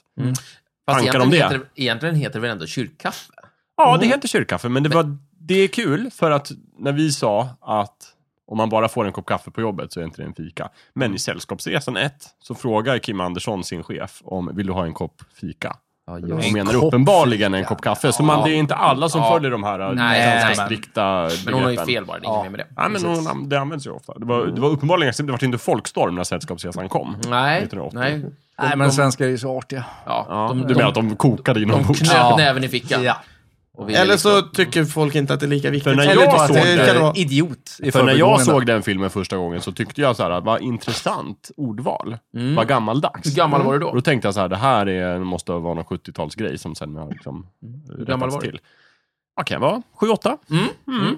S2: Fast
S3: Tankar om
S2: egentligen
S3: det?
S2: Heter, egentligen heter det väl ändå kyrkkaffe?
S3: Ja, det heter kyrkkaffe, Mm. men det, var, det är kul för att när vi sa att om man bara får en kopp kaffe på jobbet så är inte det en fika. Men i Sällskapsresan 1 så frågar Kim Andersson sin chef om vill du ha en kopp fika?
S2: Ja,
S3: Och
S2: just.
S4: En
S3: menar
S4: kopp
S3: uppenbarligen en kopp kaffe. Så man, det är inte alla som
S2: Ja.
S3: följer de här eh,
S2: Nej,
S3: ganska
S2: nej, nej.
S3: strikta
S2: Men hon har ju
S3: begreppen.
S2: fel bara, det är inget mer med det.
S3: Ja, men hon, an- det används ju ofta. Det var, det var uppenbarligen det var inte folkstorm när Sällskapsresan kom.
S2: Nej,
S3: 1980.
S2: nej.
S4: Nej, men svenskar är ju så artiga.
S2: Ja,
S3: Ja,
S2: de,
S3: du menar
S2: de,
S3: att de kokade
S2: de
S3: inombords?
S2: knöp
S4: Ja.
S2: näven i fickan.
S4: Ja.
S2: Och ville
S1: Eller så
S2: liksom-
S1: tycker folk inte att det är lika viktigt.
S3: För när
S1: Eller
S3: jag
S1: tycker att
S3: såg det-
S1: kan vara-
S4: Idiot i
S3: För när jag
S4: förbigången.
S3: såg den filmen första gången så tyckte jag så här, vad intressant ordval. Vad gammaldags.
S2: Mm. Hur gammal var du
S3: Och
S2: då?
S1: Mm.
S3: då tänkte jag så här, det här är, måste vara någon 70-talsgrej som sen har liksom
S2: Mm. Hur gammal
S3: rättats
S2: var du?
S3: till. Man kan vara 7-8,
S2: Mm. Mm. Mm.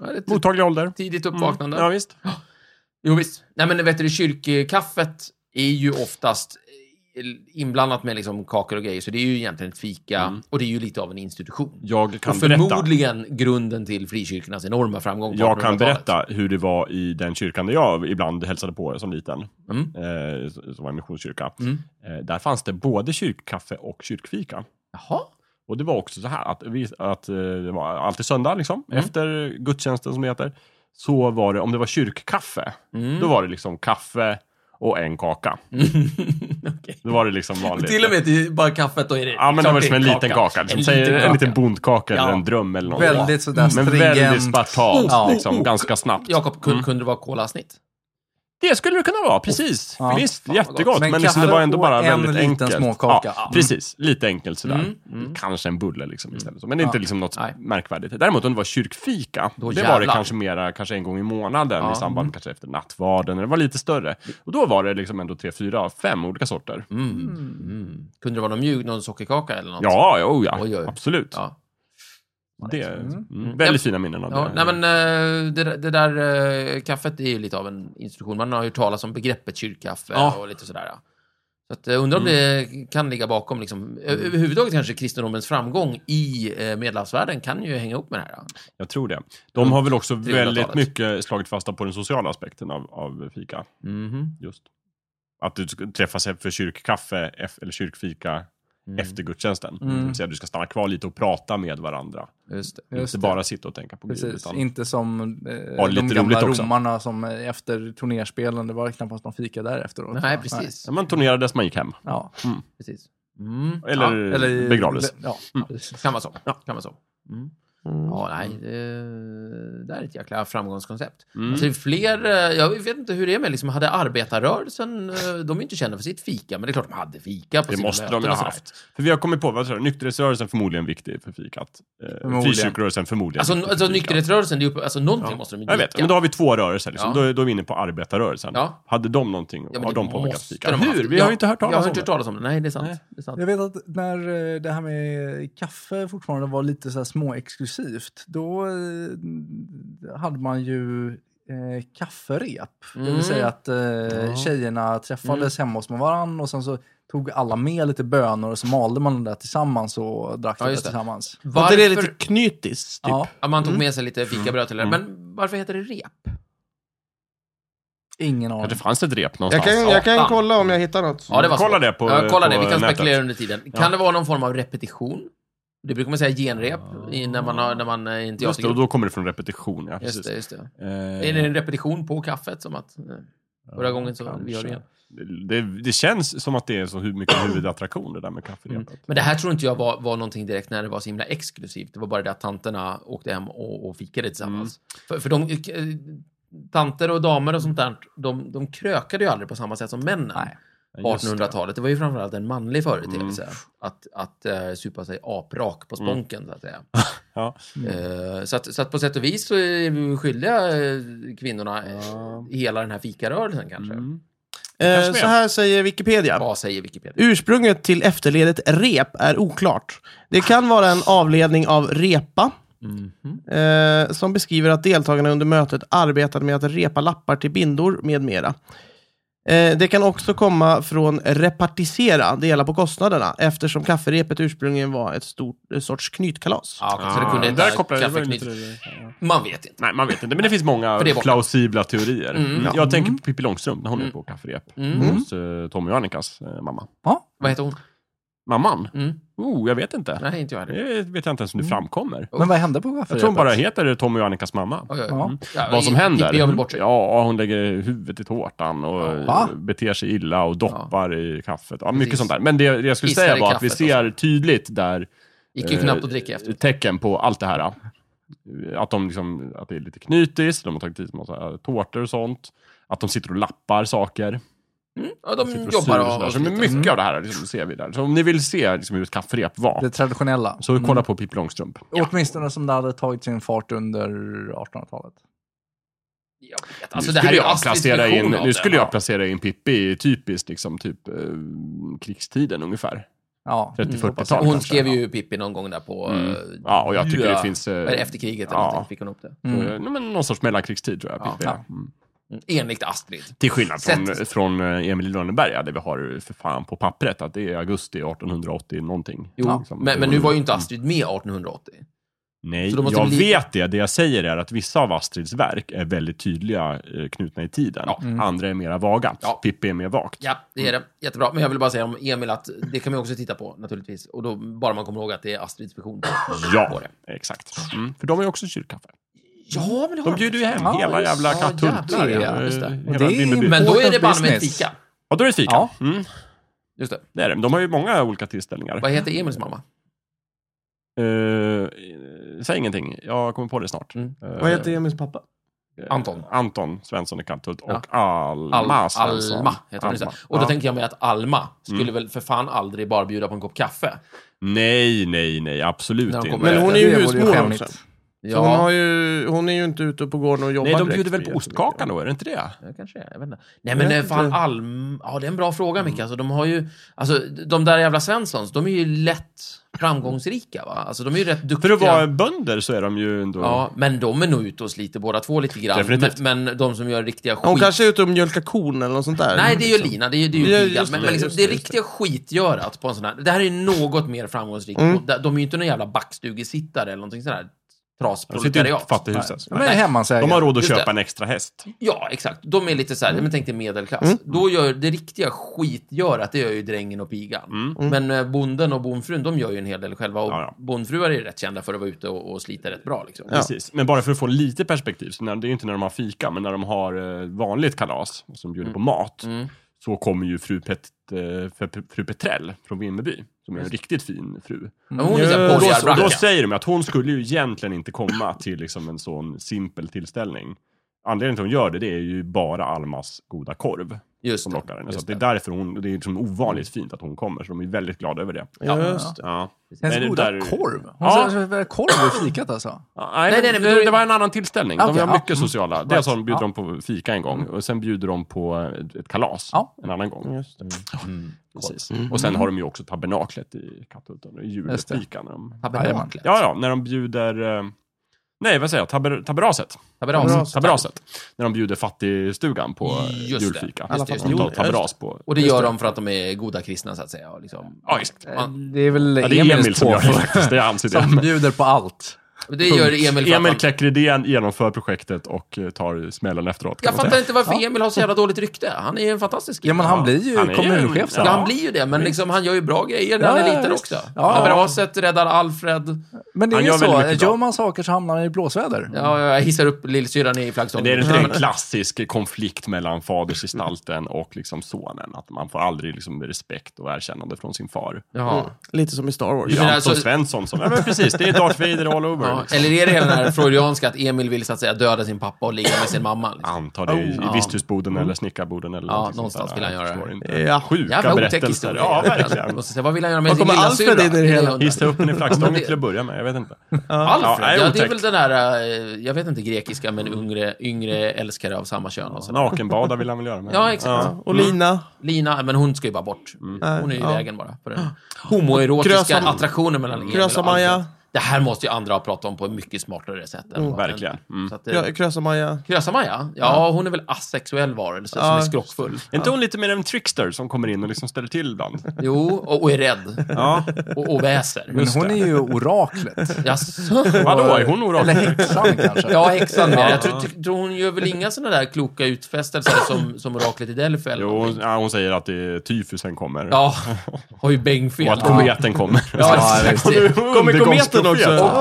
S2: Ja, det är ett
S3: mottaglig ålder.
S2: tidigt
S3: Mm.
S2: uppvaknande.
S3: Ja, visst.
S2: Jo, visst. Nej, men vet du, kyrkkaffet är ju oftast inblandat med liksom kakor och grejer, så det är ju egentligen ett fika och det är ju lite av en institution.
S3: Jag Mm. kan
S2: och
S3: berätta.
S2: förmodligen grunden till frikyrkornas enorma framgång på
S3: Jag kan
S2: 1800-talet.
S3: berätta hur det var i den kyrkan där jag ibland hälsade på som liten.
S2: Mm.
S3: Eh, som var en missionskyrka.
S2: Mm.
S3: Eh, där fanns det både kyrkkaffe och kyrkfika.
S2: Jaha.
S3: Och det var också så här att, vi, att eh, det var alltid söndag liksom,
S2: Mm.
S3: efter gudstjänsten som det heter. Så var det, om det var kyrkkaffe,
S2: Mm.
S3: då var det liksom kaffe och en kaka.
S2: Okej.
S3: Då var det liksom vanligt.
S2: Till och med till bara kaffet, då är det
S3: Ja, men det
S2: klart
S3: var som en
S2: är
S3: liten kaka. Liksom. Säg en liten bondkaka eller
S2: Ja.
S3: en dröm eller något.
S4: Väldigt sådär
S3: Mm.
S2: Alltså,
S3: Men
S4: stringent.
S3: väldigt spartanskt,
S4: Ja.
S3: liksom, ganska snabbt.
S2: Jakob, kunde, kunde det vara kolasnitt?
S3: Det skulle det kunna vara, precis.
S4: Ja.
S3: Visst,
S2: Fan, vad
S3: jättegott.
S2: gott.
S3: Men,
S4: Men
S3: liksom, det
S4: kaffe
S3: var ändå bara
S4: och en
S3: väldigt
S4: liten
S3: enkelt.
S4: småkaka.
S3: Ja,
S4: Mm.
S3: precis, lite enkelt sådär.
S2: Mm, mm.
S3: Kanske en bulle liksom istället. Men inte liksom något
S2: Nej.
S3: märkvärdigt. Däremot om det var kyrkfika,
S2: Då
S3: det var det
S2: jävlar.
S3: kanske mera kanske en gång i månaden
S2: Ja. Mm.
S3: i samband med kanske efter nattvarden. Det var lite större. Och då var det liksom ändå tre, fyra, fem olika sorter.
S2: Mm. Mm. Kunde det vara någon mjuk, någon sockerkaka eller något?
S3: Ja, oh ja,
S2: Oj, oj.
S3: absolut.
S2: ja.
S3: Det,
S4: Mm.
S3: mm. Väldigt fina minnen av
S2: Ja,
S3: det.
S2: nej men eh, det, där- det där eh, kaffet är ju lite av en institution. Man har ju talat om begreppet kyrkkaffe
S3: Ja. Mm.
S2: och lite sådär. ja. Så att, eh, undrar om det kan ligga bakom, liksom, ö- överhuvudtaget kanske kristendomens framgång i eh, medelhavsvärlden kan ju hänga ihop med det här. ja.
S3: Jag tror det. De har väl också väldigt
S2: 300-talet.
S3: mycket slagit fasta på den sociala aspekten av, av fika. Just. Att du ska träffas för kyrkkaffe eff- eller kyrkfika
S2: Mm.
S3: efter gudstjänsten. Det vill säga att du ska stanna kvar lite och prata med varandra.
S2: Just det.
S4: Just
S3: inte
S4: det.
S3: bara sitta och tänka på Gud.
S4: Precis,
S3: Utan,
S4: inte som eh,
S3: Ja,
S4: de
S3: lite
S4: gamla
S3: roligt också.
S4: romarna som eh, efter turnerspelen, det var knappast någon fika där efteråt.
S2: Nej, precis.
S3: Ja, man turnerades, man gick hem.
S4: Ja.
S2: precis. Mm.
S3: Eller,
S2: Ja,
S4: Eller
S3: begravdes.
S2: Mm.
S4: Ja.
S2: kan vara så. Kan vara så. Mm. Ja, nej, det, det här är ett jäkla framgångskoncept. Alltså, det är fler, eh, jag vet inte hur det är med, liksom, hade arbetarrörelsen, eh, de är inte kända för sitt fika, men det är klart de hade fika på
S3: Det
S2: sina
S3: måste de
S2: möten
S3: ju
S2: och
S3: ha
S2: sådär.
S3: haft. För vi har kommit på, vad tror du, nykterhetsrörelsen förmodligen viktig för fikat. Eh,
S4: Förmodligen.
S3: Frikyrkorörelsen förmodligen.
S2: Alltså,
S3: viktig för
S2: alltså
S3: fikat.
S2: nykterhetsrörelsen, det är ju, alltså någonting måste de ju
S3: Jag vet, men då har vi två rörelser. Liksom.
S2: Ja.
S3: Då, då är vi inne på arbetarrörelsen.
S2: Ja.
S3: Hade de någonting?
S2: men
S3: har
S2: det
S3: de påverkat
S2: måste
S3: fika?
S2: de ha haft.
S3: Hur? Vi har
S2: Jag-
S3: ju inte hört
S2: Jag
S3: talas
S2: har
S3: om
S2: inte
S3: det.
S2: hört talas om det. Nej, det är sant.
S3: Nej.
S2: Det är sant.
S4: Jag vet att när eh, det här med kaffe fortfarande var lite så här småexklusivt, då eh, hade man ju eh, kafferep. Det
S2: Mm.
S4: vill säga att eh, tjejerna träffades hemma hos varandra och sen så tog alla med lite bönor och så malde man det där tillsammans och drack
S2: Ja,
S4: det där
S2: just det. Typ.
S4: tillsammans.
S1: Var inte
S2: Varför,
S1: det lite knytis? Typ?
S4: Ja,
S2: ja, man
S3: Mm.
S2: tog med sig lite fikabröd till det, men varför heter det rep?
S4: ingen
S3: Ja,
S4: aning.
S3: det fanns ett rep
S1: Jag,
S3: någonstans.
S1: kan, jag
S2: Satan.
S1: kan kolla om jag hittar något.
S2: Ja, det var
S3: Kolla
S2: så.
S3: det på-
S2: ja, kolla det.
S3: på
S2: Vi kan
S3: nätet.
S2: spekulera under tiden. Kan det vara någon form av repetition? Det brukar man säga genrep i, när, man har, när man eh, är i en
S3: Just det, och
S2: teatergrupp.
S3: då kommer det från repetition. Ja,
S2: Just
S3: precis.
S2: det, just det.
S3: Eh,
S2: Är det en repetition på kaffet? Som att eh, förra gången så vi gör det igen.
S3: det, det känns som att det är så hur mycket huvudattraktion det där med kafferepet.
S2: Men det här tror inte jag var, var någonting direkt när det var så himla exklusivt. Det var bara det att tanterna åkte hem och, och fikade tillsammans.
S3: Mm.
S2: För, för de, eh, tanter och damer och sånt där, de, de krökade ju aldrig på samma sätt som männen.
S4: Nej.
S2: på
S3: Just det. Mm.
S2: 1800-talet. Det var ju framförallt en manlig företeelse. Att, att eh, supa sig aprak på spånken, så att säga.
S3: Ja.
S2: Eh, så, att, så att på sätt och vis så är vi skyldiga eh, kvinnorna eh, hela den här fikarörelsen kanske.
S3: Mm.
S1: Eh,
S3: kanske
S1: så
S3: är.
S1: här säger Wikipedia.
S2: Vad säger Wikipedia?
S1: Ursprunget till efterledet rep är oklart. Det kan vara en avledning av repa,
S3: Mhm.
S1: eh, som beskriver att deltagarna under mötet arbetade med att repa lappar till bindor med mera. Eh, det kan också komma från repartisera, dela på kostnaderna, eftersom kafferepet ursprungligen var ett stort en sorts knytkalas.
S2: Ja, så det kunde
S3: Ah,
S2: inte
S3: där
S2: ha
S3: kopplar det var ju
S2: kaffeknyt-
S3: lite det- ja.
S2: Man vet inte.
S3: Nej, man vet inte. Men det finns många
S2: För det är borta.
S3: plausibla teorier.
S2: Mm.
S3: Jag tänker på Pippi Långstrump när hon är på kafferep
S2: Mm.
S3: hos eh, Tommy och Annikas eh, mamma.
S4: Ja,
S2: Vad heter hon?
S3: Mamman?
S2: Mm.
S3: Oh, jag vet inte.
S2: Nej, Mm. inte jag heller.
S3: Det vet jag inte ens om det framkommer.
S4: men vad hände på kafferepet?
S3: Jag tror hon bara heter Tommy och Annikas mamma.
S2: Oj, oj, oj.
S4: Ja.
S2: Ja,
S3: Vad som
S2: i-
S3: händer.
S2: Pippi gör väl bort sig.
S3: Ja, hon lägger huvudet i tårtan och
S4: Va?
S3: beter sig illa och doppar i kaffet. Ja, mycket
S2: Precis.
S3: sånt där. Men det, det jag skulle
S2: Kissar
S3: säga
S2: i
S3: var att vi
S2: kaffet och så.
S3: ser tydligt där
S2: Gick ju
S3: eh,
S2: knappt att dricka efter.
S3: tecken på allt det här. eh, Att, de liksom, att det är lite knytis, de har tagit dit massa eh, tårtor och sånt. Att de sitter och lappar saker.
S2: Mm. Ja,
S3: sitter
S2: de
S3: och
S2: jobbar
S3: syr
S2: och... Mm.
S3: sådär. Så men mycket av det här liksom, ser vi där. Så om ni vill se liksom, hur ett kafferep var,
S4: Det traditionella. Mm.
S3: så
S2: Mm.
S3: kolla på Pippi Långstrump.
S4: Åtminstone som det hade tagit sin fart under 1800-talet.
S2: Jag vet, alltså,
S3: nu
S2: det här är
S3: skulle,
S2: ju alltså.
S3: jag
S2: Astrids
S3: placera
S2: version
S3: in,
S2: av
S3: nu
S2: det.
S3: skulle
S2: Ja.
S3: jag placera in Pippi i typiskt liksom, typ, eh, krigstiden ungefär.
S4: Ja.
S3: 30-40-tal
S2: Hon
S3: kanske.
S2: skrev ju Pippi någon gång där på...
S3: Mm.
S2: eh,
S3: Ja, och jag tycker
S2: Ja.
S3: det finns... eh,
S2: Eller efter kriget
S3: Ja.
S2: eller någonting fick hon upp det.
S3: eh, nej, men någon sorts mellankrigstid tror jag
S2: Ja.
S3: Pippi är. Mm.
S2: Mm, Enligt Astrid.
S3: Till skillnad från,
S2: Sätt-
S3: från eh, Emil i Lönneberga, där vi har för fan på pappret att det är augusti 1880 någonting.
S2: Jo,
S3: Ja, liksom.
S2: men, men nu var ju inte Astrid med 1880.
S3: Nej,
S2: Så då måste
S3: jag
S2: det bli-
S3: vet det. Det jag säger är att vissa av Astrids verk är väldigt tydliga eh, knutna i tiden. Andra är mera vaga.
S2: Mm. Ja.
S3: Pippi är mer vagt.
S2: Ja, det är det. Jättebra. Mm. Men jag vill bara säga om Emil att det kan man ju också titta på naturligtvis. Och då bara man kommer ihåg att det är Astrids version.
S3: Ja, exakt. Mm. För de är också kyrkkaffe.
S2: Ja, men det har
S3: De bjuder ju hem
S4: Ja,
S3: hela
S4: just-
S3: jävla
S2: ja,
S3: Katthult.
S2: jävlar, ja,
S3: eh,
S2: just det.
S3: hela
S4: Och det är
S3: Vimmerby.
S2: Men då är det bara med ett
S4: Business.
S2: fika.
S3: Ja, då är det fika.
S4: Ja.
S3: Mm,
S2: Just det.
S3: det är det. De har ju många olika tillställningar.
S2: Vad heter Emils mamma?
S3: Eh, säg ingenting, jag kommer på det snart.
S2: Mm.
S3: Eh,
S1: Vad heter Emils pappa?
S3: eh,
S2: Anton.
S3: Anton Svensson i Katthult
S2: Ja.
S3: och Alma
S2: Al-
S3: Svensson.
S2: Alma heter hon. just det. Och då
S3: Ja.
S2: tänker jag mig att Alma skulle väl för fan aldrig bara bjuda på en kopp kaffe.
S3: Nej, nej, nej, absolut
S2: När de
S3: inte.
S2: kommer-
S1: Men hon är ju
S4: Det vore
S1: husmor
S4: skämmigt.
S1: också. Så hon, har ju, hon är ju inte ute på gården och jobbar
S3: Nej, de
S1: direkt
S3: bjuder väl
S1: för
S3: på
S1: jättemycket.
S3: ostkakan då, är det inte det?
S2: Ja, kanske är. Jag vet inte. Nej, men
S1: vet
S2: eh, fan
S1: inte.
S2: Alm... Ja, det är en bra fråga, Micke. Alltså, de har ju... Alltså, de där jävla Svenssons, de är ju lätt framgångsrika, va? Alltså, de är ju rätt duktiga.
S3: För att vara bönder så är de ju ändå...
S2: Ja,
S1: Mm.
S2: men de är nog ute och sliter båda två lite grann.
S3: Definitivt.
S2: Men, men de som gör riktiga skit...
S1: Hon kanske är ute och mjölkar kon eller något sånt där.
S2: Nej, det är ju Lina, det är ju, det är ju
S1: Ja,
S2: Pigan.
S1: just
S2: Men,
S1: det,
S2: men liksom,
S1: just
S2: det
S1: det, just
S2: riktiga skitgörat på en sån här... Det här är något mer framgångsrikt.
S1: Mm.
S2: Och De de är ju inte någon jävla backstugesittare eller någonting sånt där
S3: De sitter ju i
S1: typ
S2: trasproletariat.
S3: fattighuset.
S4: De är hemmansägare.
S3: De har råd att
S2: Just
S3: köpa
S2: det.
S3: en extra häst.
S2: Ja, exakt. De är lite så här,
S1: Mm.
S2: men tänk dig medelklass. Då gör det riktiga skitgörat, det gör ju drängen och pigan.
S3: Mm.
S2: Men eh, bonden och bondfrun, de gör ju en hel del själva. Och
S3: Ja, ja.
S2: bondfruar är ju rätt kända för att vara ute och, och slita rätt bra. Liksom.
S1: Ja.
S3: Precis. Men bara för att få lite perspektiv, så när, det är ju inte när de har fika, men när de har eh, vanligt kalas och som bjuder på mat,
S2: Mm.
S3: så kommer ju fru, Pet, eh, fru- fru Petrell från Vimmerby, som är en riktigt fin fru.
S2: Men hon är
S1: Ja,
S2: såhär
S1: då-
S3: Och då,
S2: borgarbracka.
S3: då säger de att hon skulle ju egentligen inte komma till liksom en sån simpel tillställning. Anledningen till att hon gör det, det är ju bara Almas goda korv
S2: Just
S3: som
S2: det.
S3: lockar henne. Så
S2: Just
S3: att det är
S2: det.
S3: därför hon, det är liksom ovanligt fint att hon kommer, så de är väldigt glada över det.
S1: Just det.
S3: Ja.
S4: Hennes
S3: Men det
S4: goda
S3: där-
S4: korv. Hon
S3: Ja.
S4: ja. serverar korv i fikat alltså.
S3: Ja,
S2: Nej,
S3: Nej, men
S2: nej, nej, men då
S3: det,
S2: är-
S3: det var en annan tillställning. De
S4: Okej,
S3: var
S4: ja.
S3: mycket sociala. Dels har de bjuder de
S4: Ja.
S3: på fika en gång och sen bjuder de på ett- ett kalas
S4: Ja.
S3: en annan gång.
S1: Just det. Mm.
S3: Precis. Och sen har de ju också tabernaklet i Katthulten, i
S4: Just det.
S3: julfika. När de...
S2: Tabernaklet.
S3: Ja, ja, när de bjuder... eh, Nej, vad säger jag? Taber, taberaset.
S1: Mm.
S2: Tabernaklet.
S3: Taberaset. När de bjuder fattigstugan på eh,
S2: Just det.
S3: julfika.
S2: Just det, just det.
S3: De tar
S1: Jo,
S3: taberas på...
S2: Och det gör de för att de är goda kristna, så att säga. Och liksom,
S3: Ja, visst.
S2: Ja.
S4: Det är väl
S3: Ja, det är Emil
S4: Emils
S3: som gör det
S4: påfund.
S3: faktiskt. Det är hans idé.
S4: Som bjuder på allt.
S2: det gör Emil för att
S3: Emil
S2: han...
S3: Kläckridén genomför projektet och eh, tar smällen efteråt. kan
S2: Jag
S3: man säga.
S2: fattar inte varför Emil har så jävla dåligt rykte. Han är ju en fantastisk
S4: Ja, men han blir ju
S3: Han är ju-
S4: kommunchef sen.
S2: Ja,
S3: Ja.
S2: han blir ju det, men liksom, han gör ju bra grejer när
S4: Ja,
S2: han är
S4: ja,
S2: liten
S4: visst.
S2: också.
S4: Ja.
S2: Taberaset räddar Alfred.
S4: Men det är
S3: Han
S4: ju
S3: gör väldigt mycket
S4: så,
S3: bra.
S4: gör man saker så hamnar man i blåsväder.
S2: Ja, jag hissar upp lillsyrran i flaggstången.
S3: Det är inte en klassisk konflikt mellan fadersgestalten och liksom sonen. Att man får aldrig liksom respekt och erkännande från sin far.
S2: Jaha.
S1: Lite som i Star Wars.
S3: Det är
S2: menar
S3: Anton
S2: alltså-
S3: Svensson som... Ja, men precis. Det är Darth Vader all over.
S2: Ja,
S3: liksom.
S2: eller är det hela den här freudianska att Emil vill så att säga döda sin pappa och ligga med sin mamma? Liksom.
S3: Antar det i, i
S2: Ja.
S3: visthusboden eller snickarboden eller
S2: Ja,
S3: någonting
S2: någonstans
S3: sånt
S2: vill
S3: där.
S2: han göra
S3: Jag
S2: det.
S3: förstår inte.
S1: Ja.
S3: Sjuka
S2: Jävla otäck
S3: berättelser.
S2: historia. Alltså,
S3: Ja, verkligen.
S2: Måste säga, vad vill han göra med
S1: Var
S2: sin
S1: kommer
S2: lilla
S1: Alfred
S2: syrra?
S1: in i det hela?
S3: Hissa upp den i
S2: Men
S3: flaggstången
S2: det-
S3: till att börja med. Jag vet inte. Ja,
S2: Alfred?
S3: nej,
S2: Ja, det är
S3: otäckt.
S2: väl den här, eh, jag vet inte grekiska, men yngre, yngre älskare av samma kön. Och sådär.
S3: Nakenbada vill han väl göra med.
S2: Ja, exakt.
S1: Ja. Och Lina.
S2: Lina, men hon ska ju bara bort.
S3: Mm.
S2: Hon är ju i
S1: Äh, Ja.
S2: vägen bara. För den homoerotiska
S1: Krösam-
S2: attraktionen mellan Emil och
S1: Krösa-Maja.
S2: Alfred. Det här måste ju andra ha pratat om på ett mycket smartare sätt. Än vad-
S3: Verkligen. Mm.
S2: Så att,
S1: Ja,
S2: eh,
S1: Krösa-Maja.
S2: Krösa-Maja? Ja, hon är väl asexuell varelse som
S1: Ja.
S2: är skrockfull.
S3: Är inte hon lite mer en trickster som kommer in och liksom ställer till ibland?
S2: Jo, och, och är rädd.
S3: Ja.
S2: Och, och väser.
S4: Men hon är ju oraklet.
S2: Jaså?
S3: Vadå, är hon
S4: Eller
S3: oraklet?
S4: häxan kanske.
S2: Ja, häxan med. Jag tror, tror hon gör väl inga såna där kloka utfästelser som, som oraklet i Delphi? eller
S3: Jo,
S2: någonting?
S3: hon- ja, hon säger att det är tyfusen kommer.
S2: Ja, har ju
S3: Och
S2: bängfel.
S3: att kometen kommer.
S2: Ja,
S4: Ja,
S2: visst.
S3: Nu-
S1: Kommer kometen också?
S3: undergångsprofet.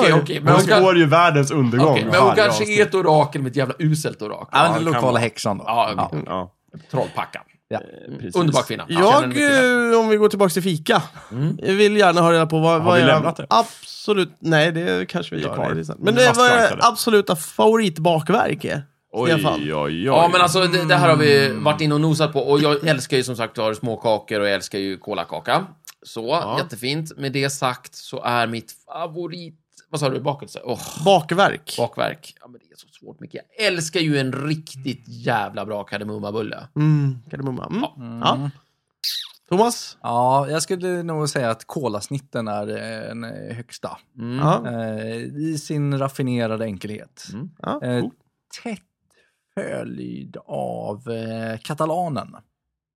S2: Okej, okej. Men
S3: Hon
S2: hon, kan,
S3: spår ju världens undergång.
S2: okej, men hon
S3: varje
S2: kanske
S3: avsnitt.
S2: är ett orakel med ett jävla uselt orakel.
S4: Ja, men
S3: Ja,
S4: den
S3: det
S4: lokala
S3: kan-
S4: häxan då.
S2: Ja,
S3: Ja,
S2: trollpacka.
S4: Ja.
S3: precis.
S2: Underbar kvinna. Ja, känner
S1: Jag,
S2: mycket väl.
S1: eh, om vi går tillbaka till fika, Jag vill gärna ha reda på vad,
S3: Har
S1: vad
S3: vi
S1: är
S3: lämnat det?
S1: absolut, nej det kanske vi
S3: Vi är
S1: gör.
S3: kvar.
S1: det är sant. Men
S3: Vi
S1: det, vad är
S3: fastklankade.
S1: absoluta favoritbakverk är?
S3: Oj,
S1: Stefan.
S3: oj, oj.
S2: Ja, men alltså det, det här har vi varit inne och nosat på. Och jag älskar ju som sagt var småkakor och jag älskar ju kolakaka. Så, jättefint. Med det sagt så är mitt favorit... Vad sa du? Bakelse? Åh,
S1: Bakverk?
S2: bakverk. Ja, men det är så svårt, Micke. Jag älskar ju en riktigt jävla bra kardemummabulle.
S1: Mm, kardemumma. Mm. Ja. Thomas?
S4: Ja, jag skulle nog säga att kolasnitten är eh, den eh, högsta.
S1: Ja. Mm.
S4: Eh, I sin raffinerade enkelhet.
S1: Ja.
S4: Eh, tätt följd av eh, katalanen.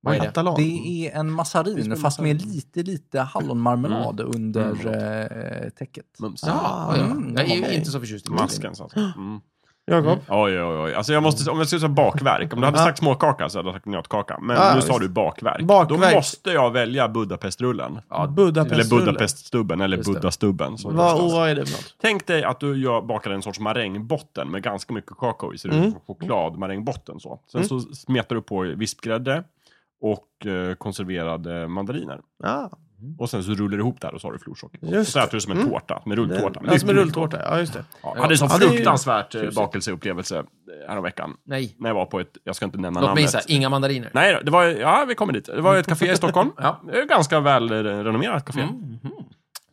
S2: Vad är det?
S1: Katalan.
S4: Det är en massarin,
S1: med
S4: fast med lite, lite hallonmarmelad under eh, täcket.
S3: Mums.
S2: Jaha, ja.
S4: Mm,
S2: Jag är ju
S4: okej.
S2: inte så förtjust i
S3: Masken så att säga. mm.
S1: Jakob?
S3: Oj, oj, oj. Alltså jag måste, om jag skulle säga bakverk. Om du hade
S1: Ja.
S3: sagt småkaka så hade jag sagt nötkaka. Men
S1: Ja,
S3: nu sa
S1: visst.
S3: du bakverk.
S1: Bakverk.
S3: Då måste jag välja Budapestrullen.
S2: Ja,
S1: Budapest.
S3: Eller Budapeststubben, eller
S2: Just det.
S3: Buddastubben. som det
S1: Vad,
S3: kallas.
S1: och vad är det för något?
S3: Tänk dig att du gör, bakar en sorts marängbotten med ganska mycket kakao i. Så det är
S1: Mm.
S3: mm. chokladmarängbotten. Så.
S2: Mm.
S3: Sen så smetar du på vispgrädde och eh, konserverade mandariner.
S1: Ja,
S3: Och sen så rullar du ihop det här och så har du florsocker. Och
S1: Just Mm.
S3: så äter du som en tårta, med rulltårta.
S1: ja, som en rulltårta. Ja, just det.
S3: Ja, jag hade en sån
S1: Ja, det är ju-
S3: fruktansvärt eh, bakelseupplevelse eh, häromveckan.
S2: Nej,
S3: När jag var på ett, jag ska inte nämna
S2: låt mig
S3: namnet.
S2: gissa. Inga mandariner.
S3: Nej då, det var, ja vi kommer dit. Det var ett café i Stockholm.
S2: Ja.
S3: Det är ett ganska väl eh, renommerat café.
S2: Mm.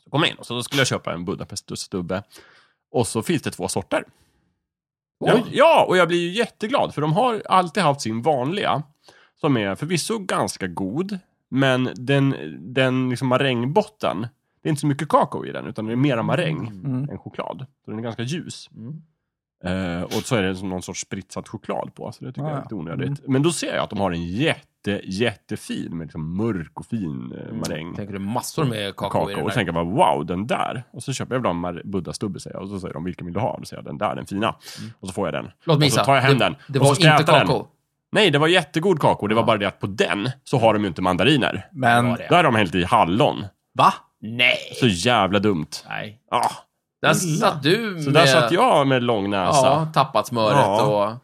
S3: Så kom jag in och så skulle jag köpa en Budapeststubbe. Och så finns det två sorter. Ja,
S2: Oj.
S3: ja, och jag blir ju jätteglad för de har alltid haft sin vanliga. Som är förvisso ganska god. Men den, den liksom marängbotten. Det är inte så mycket kakao i den utan det är mera maräng
S4: Mm.
S3: än choklad. Så den är ganska ljus.
S2: Mm.
S3: Eh, och så är det som någon sorts spritsad choklad på, så det tycker
S4: Ah,
S3: jag är
S4: ja.
S3: lite onödigt.
S2: Mm.
S3: Men då ser jag att de har en jätte, jättefin, med liksom mörk och fin eh, maräng.
S2: Tänker du massor med Mm. kakao, i
S3: kakao.
S2: den
S3: Och så
S2: där?
S3: tänker jag bara, wow, den där. Och så köper jag väl en mar- buddastubbe, säger jag. Och så säger de, vilken vill du ha? Då säger jag, den där, den fina.
S2: Mm.
S3: Och så får jag den.
S2: Låt mig
S3: och
S2: gissa.
S3: så Alltså, tar jag hem den.
S2: Det
S3: Och så
S2: var
S3: ska jag
S2: inte
S3: äta den.
S2: kakao.
S3: Nej, det var jättegod kakao. Det var bara det att på den så har de ju inte mandariner.
S4: Men,
S2: Vad var det?
S3: Där har de hällt i hallon.
S4: va?
S2: Nej.
S3: Så jävla dumt.
S2: Nej.
S3: Ah,
S2: Där
S1: Illa.
S2: satt du med...
S3: så där satt jag alltså. med lång näsa.
S2: Ja, tappat smöret
S3: Ja.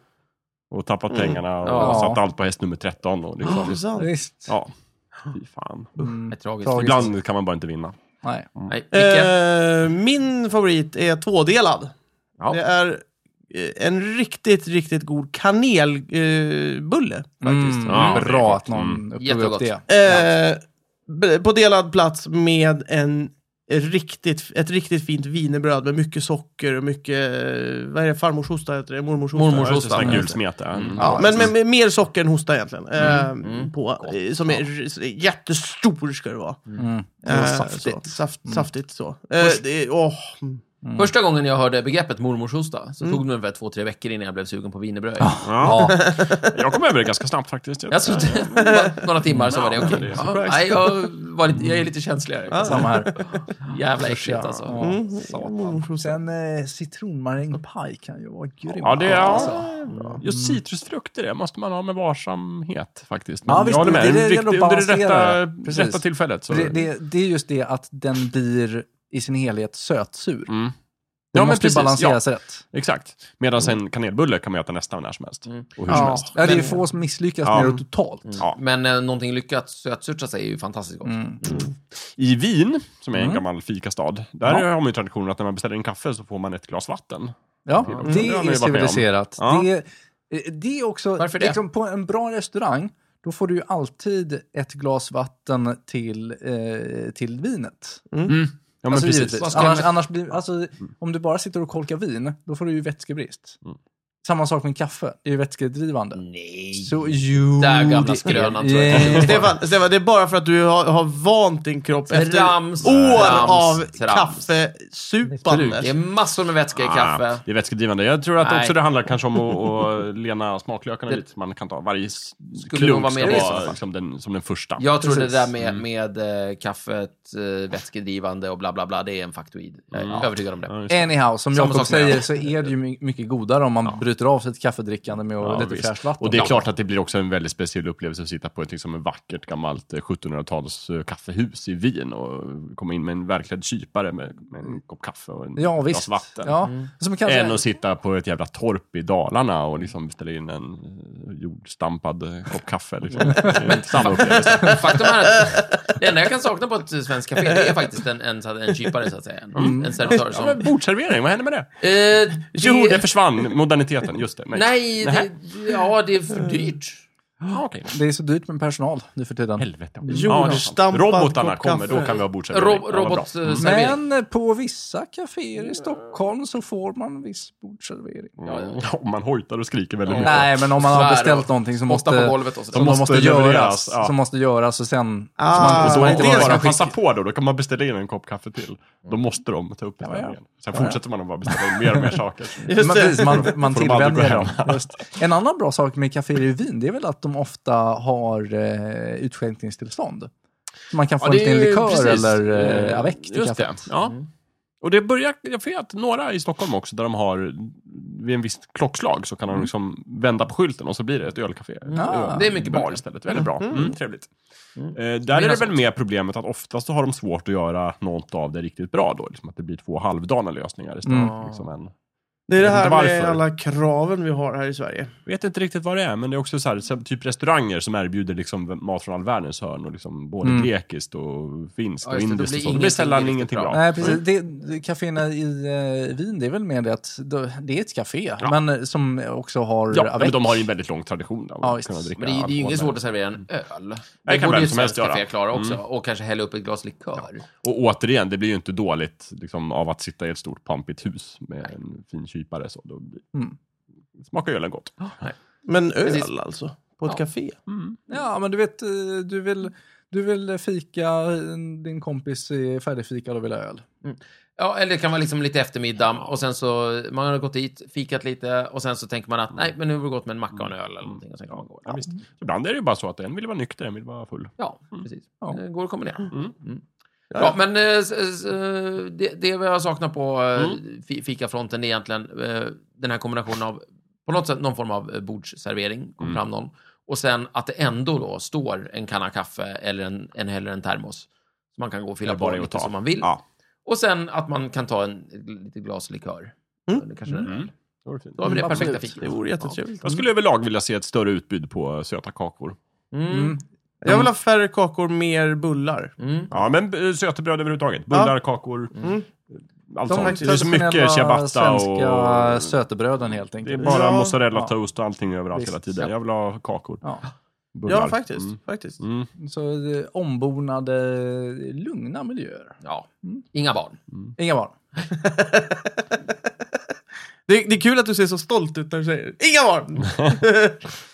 S2: och...
S3: Och tappat pengarna och
S2: Ja.
S3: satt allt på häst nummer 13. Och liksom,
S1: Intressant.
S4: Visst.
S3: Ja, fy fan.
S4: Mm.
S2: Ett tragiskt.
S4: Tragiskt.
S3: Ibland kan man bara inte vinna.
S4: Nej.
S2: Nej, Micke.
S1: Eh, min favorit är tvådelad.
S2: Ja.
S1: Det är eh, en riktigt, riktigt god eh, kanelbulle.
S4: Mm.
S3: Ja, det är
S4: Bra
S3: gott.
S4: att någon tog
S2: Jättegott.
S4: upp det.
S1: Eh, b- på delad plats med en riktigt, ett riktigt fint wienerbröd med mycket socker och mycket, eh, vad är det, farmors hosta heter det? Mormors hosta?
S2: Mormors
S3: Ja, just det,
S2: hosta.
S3: sån här
S2: Mm.
S3: gul smet där. Mm.
S1: Ja, men med, med mer socker än hosta egentligen. Eh,
S2: mm.
S1: På, eh, som är r- s- jättestor ska det vara.
S4: Mm.
S1: Eh,
S4: saftigt.
S1: Så, saft, Saftigt så. Eh, det, är- åh, mm.
S2: Första gången jag hörde begreppet mormorshosta så tog det ungefär två, tre veckor innan jag blev sugen på wienerbröd.
S3: Ja. Jag kom över det ganska snabbt faktiskt.
S2: Jag alltså, det- några timmar så var det okej.
S3: det är
S2: Ja, nej, jag, var lite, jag är lite känsligare.
S4: Samma här.
S2: Jävla äckligt alltså.
S4: Ah. Ja,
S1: Mm.
S4: satan.
S1: Mormors hosta.
S4: Sen eh, citronmarängpaj kan ju vara grymt.
S3: Ja, det är...
S4: Alltså.
S3: Ja. Mm. Just citrusfrukter, det måste man ha med varsamhet faktiskt. Men
S4: Ja, visst,
S3: jag håller
S4: men
S3: med.
S4: det- det
S3: Riktigt-
S4: gäller att
S3: under det
S4: balansera
S3: rätta,
S4: det. Precis.
S3: rätta tillfället. Så.
S4: För Det, det, det är just det att den blir i sin helhet sötsur.
S3: Mm.
S4: Den
S3: Ja, men
S4: måste ju
S3: precis.
S4: balanseras rätt.
S3: Exakt. Medan en kanelbulle kan man äta nästan när som helst. Och hur som
S4: Ja.
S3: helst. Mm.
S4: Ja, det är få som misslyckas
S3: Ja.
S4: med det totalt.
S3: Ja.
S2: Men eh, någonting lyckat sötsurta sig är ju fantastiskt gott.
S4: Mm.
S3: I Wien, som är en gammal fikastad, där har man ju traditionen att när man beställer en kaffe så får man ett glas vatten.
S4: Ja,
S3: Mm.
S4: det
S3: Det har ni
S4: är
S3: varit med om.
S4: civiliserat.
S3: Ja.
S4: Det, är- eh, det är också,
S2: Varför det?
S4: Liksom, på en bra restaurang, då får du ju alltid ett glas vatten till, eh, till vinet.
S3: Ja, men
S4: alltså,
S3: precis.
S4: givetvis.
S2: Vad ska jag
S4: Annars,
S2: med-
S4: annars blir, alltså, om du bara sitter och kolkar vin, då får du ju vätskebrist. Samma sak med kaffe, det är ju vätskedrivande.
S2: Nej.
S4: Så jo,
S2: Där gamla
S4: det är-
S2: skrönan tror jag.
S4: Yeah.
S1: Stefan, Stefan, det är bara för att du har, har vant din kropp efter
S2: Trams,
S1: år
S2: trams,
S1: av
S2: trams. Det är
S1: kaffesupande.
S2: massor med vätska i kaffe.
S3: Ah, det är vätskedrivande. Jag tror att
S2: Nej.
S3: också det handlar kanske om att, att lena smaklökarna lite. Man kan ta varje s-
S2: nog
S3: klunk
S2: vara med
S3: ska
S2: i så
S3: vara
S2: fall.
S3: liksom den, som den första.
S2: Jag tror det
S4: Precis.
S2: där med,
S3: Mm.
S2: med eh, kaffet, eh, vätskedrivande och bla bla bla, det är en faktoid. Jag är övertygad om det.
S3: Mm. Ja, just det.
S4: Eh, Anyhow, som
S2: Samma
S4: Jakob
S2: sak med-
S4: säger så är det ju my- mycket godare om man bryter av sitt kaffedrickande med
S3: Ja,
S4: lite
S3: visst.
S4: fräscht vatten.
S3: och det är klart att det blir också en väldigt speciell upplevelse att sitta på ett liksom, ett vackert gammalt eh, 1700-tals eh, kaffehus i Wien och komma in med en verklädd kypare med, med en kopp kaffe och en
S4: Ja,
S3: glas
S4: visst.
S3: vatten.
S4: Ja. Som kanske,
S3: Än att sitta på ett jävla torp i Dalarna och liksom beställa in en eh, jordstampad eh, kopp kaffe. Liksom. Det är inte samma upplevelse.
S2: Faktum är att det enda jag kan sakna på ett svenskt café, det är faktiskt en, en, så att- en kypare så att säga. En, en servitör
S3: Mm. Ja,
S2: som...
S3: men bordservering, vad hände med det?
S2: Eh,
S3: Jo,
S2: det-
S3: det försvann. Moderniteten, just det. Nej.
S2: Nej, det, ja, det är för dyrt.
S3: Ja, okej.
S4: Det är så dyrt med personal nu för tiden.
S3: Helvete. Ja, det är sant.
S1: Jordstampad
S3: Robotarna
S1: kopp
S3: kommer, då
S1: kaffe.
S3: kan vi ha bordsservering.
S2: Ro-
S3: Ja, vad bra. Mm.
S2: Robotservering.
S4: Men på vissa kaféer i Stockholm så får man viss bordsservering.
S3: Ja, Om man hojtar och skriker väldigt mycket.
S4: Nej, men om man har
S2: Svär
S4: beställt
S2: och-
S4: någonting som
S2: Måste
S4: måste,
S2: på golvet och
S4: som
S2: sådär.
S3: måste
S4: måste, måste
S3: levereras,
S4: göras.
S3: ja.
S4: Som måste göras och sen...
S1: Ah,
S4: som man,
S3: Och då
S4: som man
S1: det
S4: inte
S1: är
S3: inte
S1: det
S4: bara
S1: som
S3: bara
S1: är
S4: ska
S3: passa
S4: skicka.
S3: på då, då kan man beställa in en kopp kaffe till. Då måste de ta upp beställningen. Sen fortsätter man att bara beställa in mer och mer saker.
S1: Just
S4: Man, precis,
S1: det.
S4: man, man
S3: Får de aldrig
S4: tillvänjer
S3: gå
S4: dem. Just. En annan bra sak med kaféer i Wien, det är väl att de ofta har eh, utskänkningstillstånd. Så man kan få en liten likör eller eh, avec till
S3: Eh, Just det.
S4: kaffet.
S3: Ja. Och det börjar, jag vet några i Stockholm också, där de har vid en viss klockslag så kan de liksom vända på skylten och så blir det ett ölcafé.
S4: Ah.
S2: Det är mycket
S3: bar
S2: bättre.
S3: istället. Väldigt bra. Mm, trevligt. Eh, där
S2: Mera
S3: är det väl
S2: sånt.
S3: mer problemet att oftast så har de svårt att göra något av det riktigt bra då. Liksom att det blir två halvdana lösningar istället.
S4: Mm.
S3: Liksom en,
S1: Det är det
S3: Jag vet
S1: här
S3: inte
S1: med
S3: varför.
S1: alla kraven vi har här i Sverige.
S3: vet inte riktigt vad det är, men det är också så här, så- typ restauranger som erbjuder liksom mat från all världens hörn och liksom både
S4: Mm.
S3: grekiskt och finskt
S2: Ja,
S3: och
S2: just det, då
S3: indiskt.
S2: blir
S3: och sånt. Det blir
S2: ingenting
S3: sällan
S2: riktigt
S3: ingenting
S2: bra.
S3: bra.
S4: Nej, precis. Det, det- kaféerna i eh, Wien, det är väl mer det att det- det är ett café,
S3: Ja.
S4: men eh, som också har
S3: Ja,
S4: avec.
S3: men de har ju en väldigt lång tradition där.
S4: Ja,
S3: av att
S4: visst.
S3: kunna dricka
S2: Men det, är- det är ju inget
S3: alkohol där.
S2: svårt att servera en öl.
S3: mm. Det
S2: Det
S3: kan
S2: borde
S3: vem
S2: ju
S3: som
S2: svenskt
S3: helst
S2: café
S3: göra. Mm.
S2: klara också. Och kanske hälla upp ett glas likör.
S3: Och återigen, det blir ju inte dåligt liksom, av att sitta i ett stort pampigt hus med en fin kypare. Så då blir...
S4: Mm.
S3: smakar ölen gott.
S1: Men öl
S2: Precis.
S1: alltså? På ett
S2: Ja.
S1: café?
S4: Ja, men du vet, eh, du vill, du vill fika, eh, din kompis är färdigfikad och vill ha öl.
S2: Ja, eller det kan vara liksom lite eftermiddag och sen så, man har gått dit, fikat lite och sen så tänker man att nej, men nu vore det gott med en macka och en öl eller någonting och sen kan man gå.
S3: Mm. Ja, visst. Så Ibland är det ju bara så att en vill vara nykter, en vill vara full.
S2: Ja,
S3: Mm.
S2: precis.
S4: Ja.
S2: Det går att kombinera. Mm. Ja, men eh, s- s- eh, det, det vi har saknat på eh,
S3: Mm.
S2: fi- fikafronten det är egentligen eh, den här kombinationen av på något sätt någon form av eh, bordsservering, kom
S3: Mm.
S2: fram någon. Och sen att det ändå då står en kanna kaffe eller en, en, eller en termos. Så man kan gå och fylla
S3: Ja,
S2: på
S3: bara att
S2: lite
S3: ta.
S2: som man vill.
S3: Ja.
S2: Och sen att man kan ta en, lite glas likör. Eller kanske
S3: Mm.
S2: en öl.
S3: Det vore fint.
S2: Då har vi det
S4: Mm,
S2: perfekta
S4: absolut.
S2: fikat.
S1: Det vore jättetrevligt.
S3: Jag skulle överlag vilja se ett större utbud på söta kakor.
S2: Mm.
S1: Jag vill ha färre kakor, mer bullar.
S2: Mm.
S3: Ja, men eh, sötebröd överhuvudtaget. Bullar, kakor,
S1: Mm.
S3: allt
S1: De
S3: sånt. Det är så mycket
S4: traditionella
S3: ciabatta
S4: svenska
S3: och...
S4: sötebröden helt
S3: Det är
S4: enkelt.
S3: bara
S1: Ja.
S3: mozzarella
S4: Ja.
S3: toast och allting överallt
S4: Visst.
S3: hela tiden. Jag vill ha kakor.
S4: Ja.
S3: Bullar.
S1: Ja, faktiskt.
S3: Mm.
S1: faktiskt.
S3: Mm.
S4: Så eh, ombonade, eh, lugna miljöer.
S2: Ja. Inga barn.
S3: Mm.
S4: Inga barn.
S1: Det, det är kul att du ser så stolt ut när du säger Inga barn!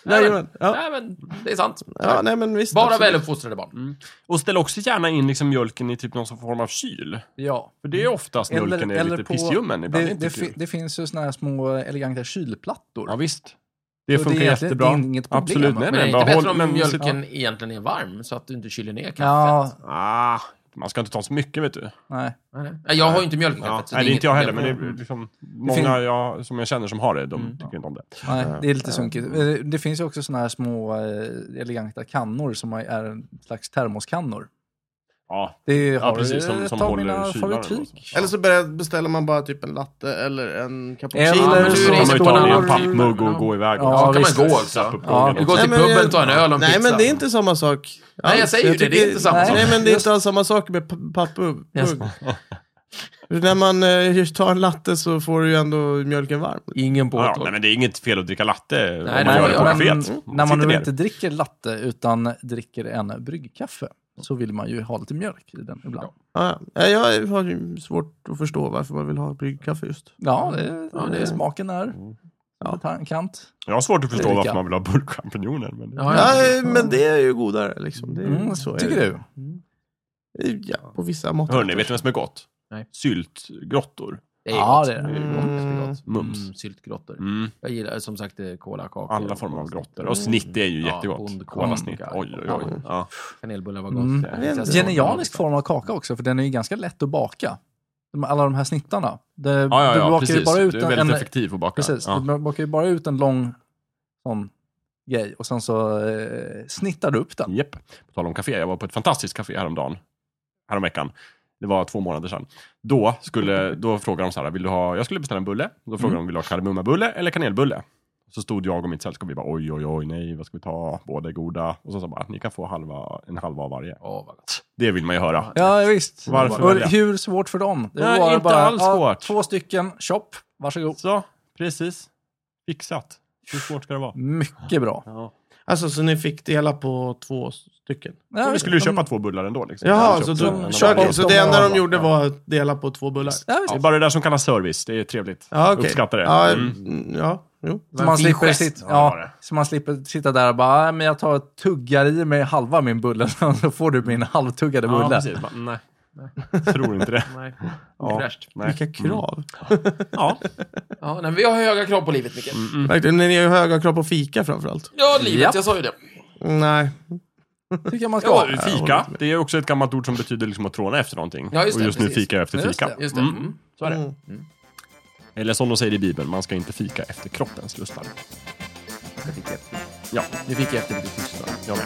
S2: Nej,
S1: Jajamän.
S2: men,
S1: ja.
S2: nej, men det är sant.
S1: ja, nej men visst.
S2: Bara
S1: absolut.
S2: väluppfostrade barn.
S3: Mm. Och ställ också gärna in liksom mjölken i typ någon form av kyl.
S4: Ja.
S3: För det är oftast mjölken är lite pissljummen ibland.
S4: Det,
S3: är inte
S4: det,
S3: kul.
S4: fi- det finns ju såna här små eleganta kylplattor.
S3: Ja, visst. Det
S4: Så
S3: funkar
S4: det är egentligen-
S3: jättebra.
S4: det är inget problem,
S3: Absolut, nej,
S2: Men det är
S3: nej.
S2: inte
S3: Bara
S2: bättre
S3: håll,
S2: om
S3: men
S2: mjölken egentligen är varm så att du inte kyler ner kaffet?
S4: Ja,
S3: Ah, man ska inte ta så mycket, vet du.
S4: nej.
S2: Nej, nej. Jag har ju inte mjölk i
S3: Ja.
S2: kaffet. så
S3: Nej, det är
S2: inget Mm.
S3: inte jag heller, men
S2: problem.
S3: det är liksom många jag, som jag känner som har det, de
S4: Mm.
S3: tycker inte om det.
S4: Nej, det är lite sunkigt. Eh, Det finns ju också såna här små eh, eleganta kannor som är en slags termoskannor.
S3: Ja,
S4: Det har
S3: precis, som- som
S4: ett av
S3: håller
S4: mina
S3: kylaren och så.
S4: favoritfik.
S1: Eller så börjar- beställer man bara typ en latte eller en cappuccino.
S4: Eller
S1: Ja, men
S2: så-
S1: du-
S3: så kan man ju ta ner en
S4: står-
S3: pappmugg och gå iväg.
S4: Ja,
S2: Ja,
S3: också.
S2: kan man
S4: visst.
S2: gå också.
S4: Ja.
S2: Du går till
S1: Nej, men-
S2: puben, tar en öl och en
S1: Nej
S2: pizza.
S1: men det är inte samma sak.
S2: Nej, jag säger ju det, det är
S1: tycker-
S2: inte samma
S1: nej,
S4: sak.
S1: Nej men det är inte alls samma sak med p- pappmugg.
S2: Yes.
S1: När man eh, tar en latte så får du ju ändå mjölken varm.
S2: Ingen
S3: Ja, ja, nej, men det är inget fel att dricka latte om
S2: det
S3: man
S2: får
S3: gör
S2: man
S3: det
S2: göra.
S3: på
S4: men
S3: buffét.
S4: när man
S3: Sitter
S4: nu
S3: ner.
S4: inte dricker latte utan dricker en bryggkaffe så vill man ju ha lite mjölk i den ibland.
S1: Ja, ja. Eh, jag har ju svårt att förstå varför man vill ha bryggkaffe just.
S4: Ja, det, det är smaken är.
S3: Mm.
S4: Ja. Kant.
S3: Jag har svårt att förstå
S4: Dricka.
S3: varför man vill ha burkchampinjoner. Men...
S2: Ja, ja.
S1: Ja, eh, men det är ju godare liksom. Det är,
S4: Mm,
S1: så är
S4: tycker
S1: det.
S4: du?
S1: Ja, på vissa mått.
S3: Hörni, vet ni vad som är gott?
S2: Nej.
S3: Syltgrottor.
S2: Det är
S4: Ja,
S2: gott.
S4: det är det.
S2: är gott.
S3: Mums.
S2: Mm, syltgrottor.
S3: Mm.
S2: Jag gillar som sagt eh, kolakakor. Mm.
S3: Alla former av grottor. Och snitt är ju
S2: Ja,
S3: jättegott.
S2: bondkaka.
S3: Kolasnitt. Oj, oj, oj. Ja.
S2: Kanelbullar var gott.
S4: Mm.
S2: Det är
S1: Genialisk
S4: Genialisk form av kaka också, för den är ju ganska lätt att baka. De- Alla de här snittarna. Det,
S3: Ja, ja,
S4: du
S3: ja,
S4: bakar
S3: precis.
S4: ju bara ut
S3: du är
S4: en...
S3: väldigt
S4: en
S3: effektiv att baka.
S4: precis,
S3: Ja.
S4: Du bakar ju bara ut en lång sån grej och sen så eh, snittar du upp den.
S3: Japp. På tal om café, jag var på ett fantastiskt café häromdagen. Häromveckan. Det var två månader sedan. Då, skulle, då frågade de så här, vill du ha, jag skulle beställa en bulle. Då frågade
S4: Mm.
S3: de, vill du ha kardemummabulle eller kanelbulle? Så stod jag och mitt sällskap och vi bara, oj, oj, oj, nej, vad ska vi ta? Båda är goda. Och så sa de bara, ni kan få halva, en halva av varje.
S2: Åh, vad gott.
S3: Det vill man ju höra.
S4: Ja, visst.
S3: Varför
S4: och
S3: välja?
S4: hur svårt för dem? Det
S3: Nej,
S4: var
S3: inte alls svårt.
S4: Två stycken, chop, varsågod.
S3: Så, precis. Fixat. Hur svårt ska det vara?
S4: Mycket bra.
S1: Alltså, så ni fick dela på två stycken?
S4: Ja,
S3: Vi skulle ju köpa två bullar ändå. Liksom. Vi
S1: Jaha,
S3: hade
S1: så,
S3: köpt en
S1: då,
S3: av
S1: kör,
S3: varje.
S1: ni- så det enda de
S3: Ja.
S1: gjorde var att dela på två bullar?
S4: Ja, visst.
S3: Ja, bara det där som kallas service, det är trevligt.
S1: Ja, okej.
S3: Uppskattar det.
S1: Ja,
S3: Mm.
S1: mm, ja, jo.
S4: Så man,
S2: fin
S4: slipper
S2: gest.
S4: sitta,
S3: Ja, det var
S4: ja,
S3: det.
S4: så man slipper sitta där och bara, "Nej, men jag tar och tuggar i mig halva min bulle, så får du min halvtuggade
S3: Ja,
S4: bulle.
S3: precis. Bara, Nej. Tror inte det.
S2: Nej.
S3: Ja.
S2: Fräscht.
S3: Nej. Mm.
S1: Vilka krav.
S3: Ja.
S2: Ja, nej, vi har höga krav på livet,
S3: Mm,
S2: Micke.
S1: Verkligen, ni har ju höga krav på fika framförallt.
S2: Ja, livet.
S4: Japp.
S2: Jag sa ju det.
S1: Nej.
S4: tycker jag man ska.
S2: Ja,
S4: ha.
S3: Fika, det är också ett gammalt ord som betyder liksom att tråna efter någonting.
S2: Ja, just
S3: och
S2: det,
S3: just nu
S2: precis.
S3: fika jag efter
S4: Ja, just
S3: fika.
S2: Just det.
S3: Mm.
S2: Mm.
S3: Så är det.
S1: Mm.
S3: Eller som de säger i Bibeln, man ska inte fika efter kroppens lustar.
S2: Jag fick efter.
S3: Ja,
S2: Nu fick jag efter lite tystnad.
S3: jag med.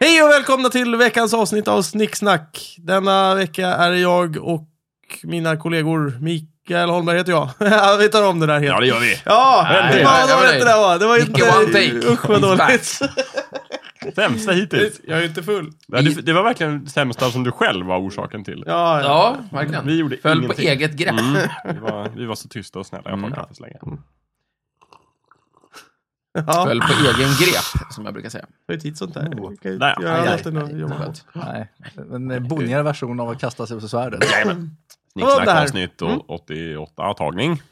S1: Hej och välkomna till veckans avsnitt av Snicksnack. Denna vecka är det jag och mina kollegor, Mikael Holmberg heter jag. vi tar om det där helt.
S3: Ja, det gör vi.
S1: Ja,
S3: Nej,
S1: det var
S2: jag var
S1: dåligt det
S2: nöjd.
S1: där var. Det var ju
S2: Micke, one
S1: inte...
S2: take.
S1: Usch vad
S2: He's
S1: dåligt.
S3: Sämsta hittills.
S1: Jag är ju inte full.
S3: Ja, det, det var verkligen det sämsta som du själv var orsaken till.
S1: Ja, ja.
S2: Ja, verkligen.
S3: Vi gjorde
S2: Föll
S3: ingenting.
S2: på Mm, eget grepp.
S3: Mm, vi, var, vi var så tysta och snälla. Jag får kaffe så länge.
S1: ja.
S2: Föll på egen grep, som jag brukar säga.
S1: Det är ju tid sånt där. Vi kan ju
S3: Nej,
S1: inte göra
S3: nej,
S1: annat än att jobba.
S2: Skönt.
S4: Nej, en bonigare version av att kasta sig på svärdet.
S1: Vad var det här?
S2: Mm.
S3: Snicksnack avsnitt och 88 tagning.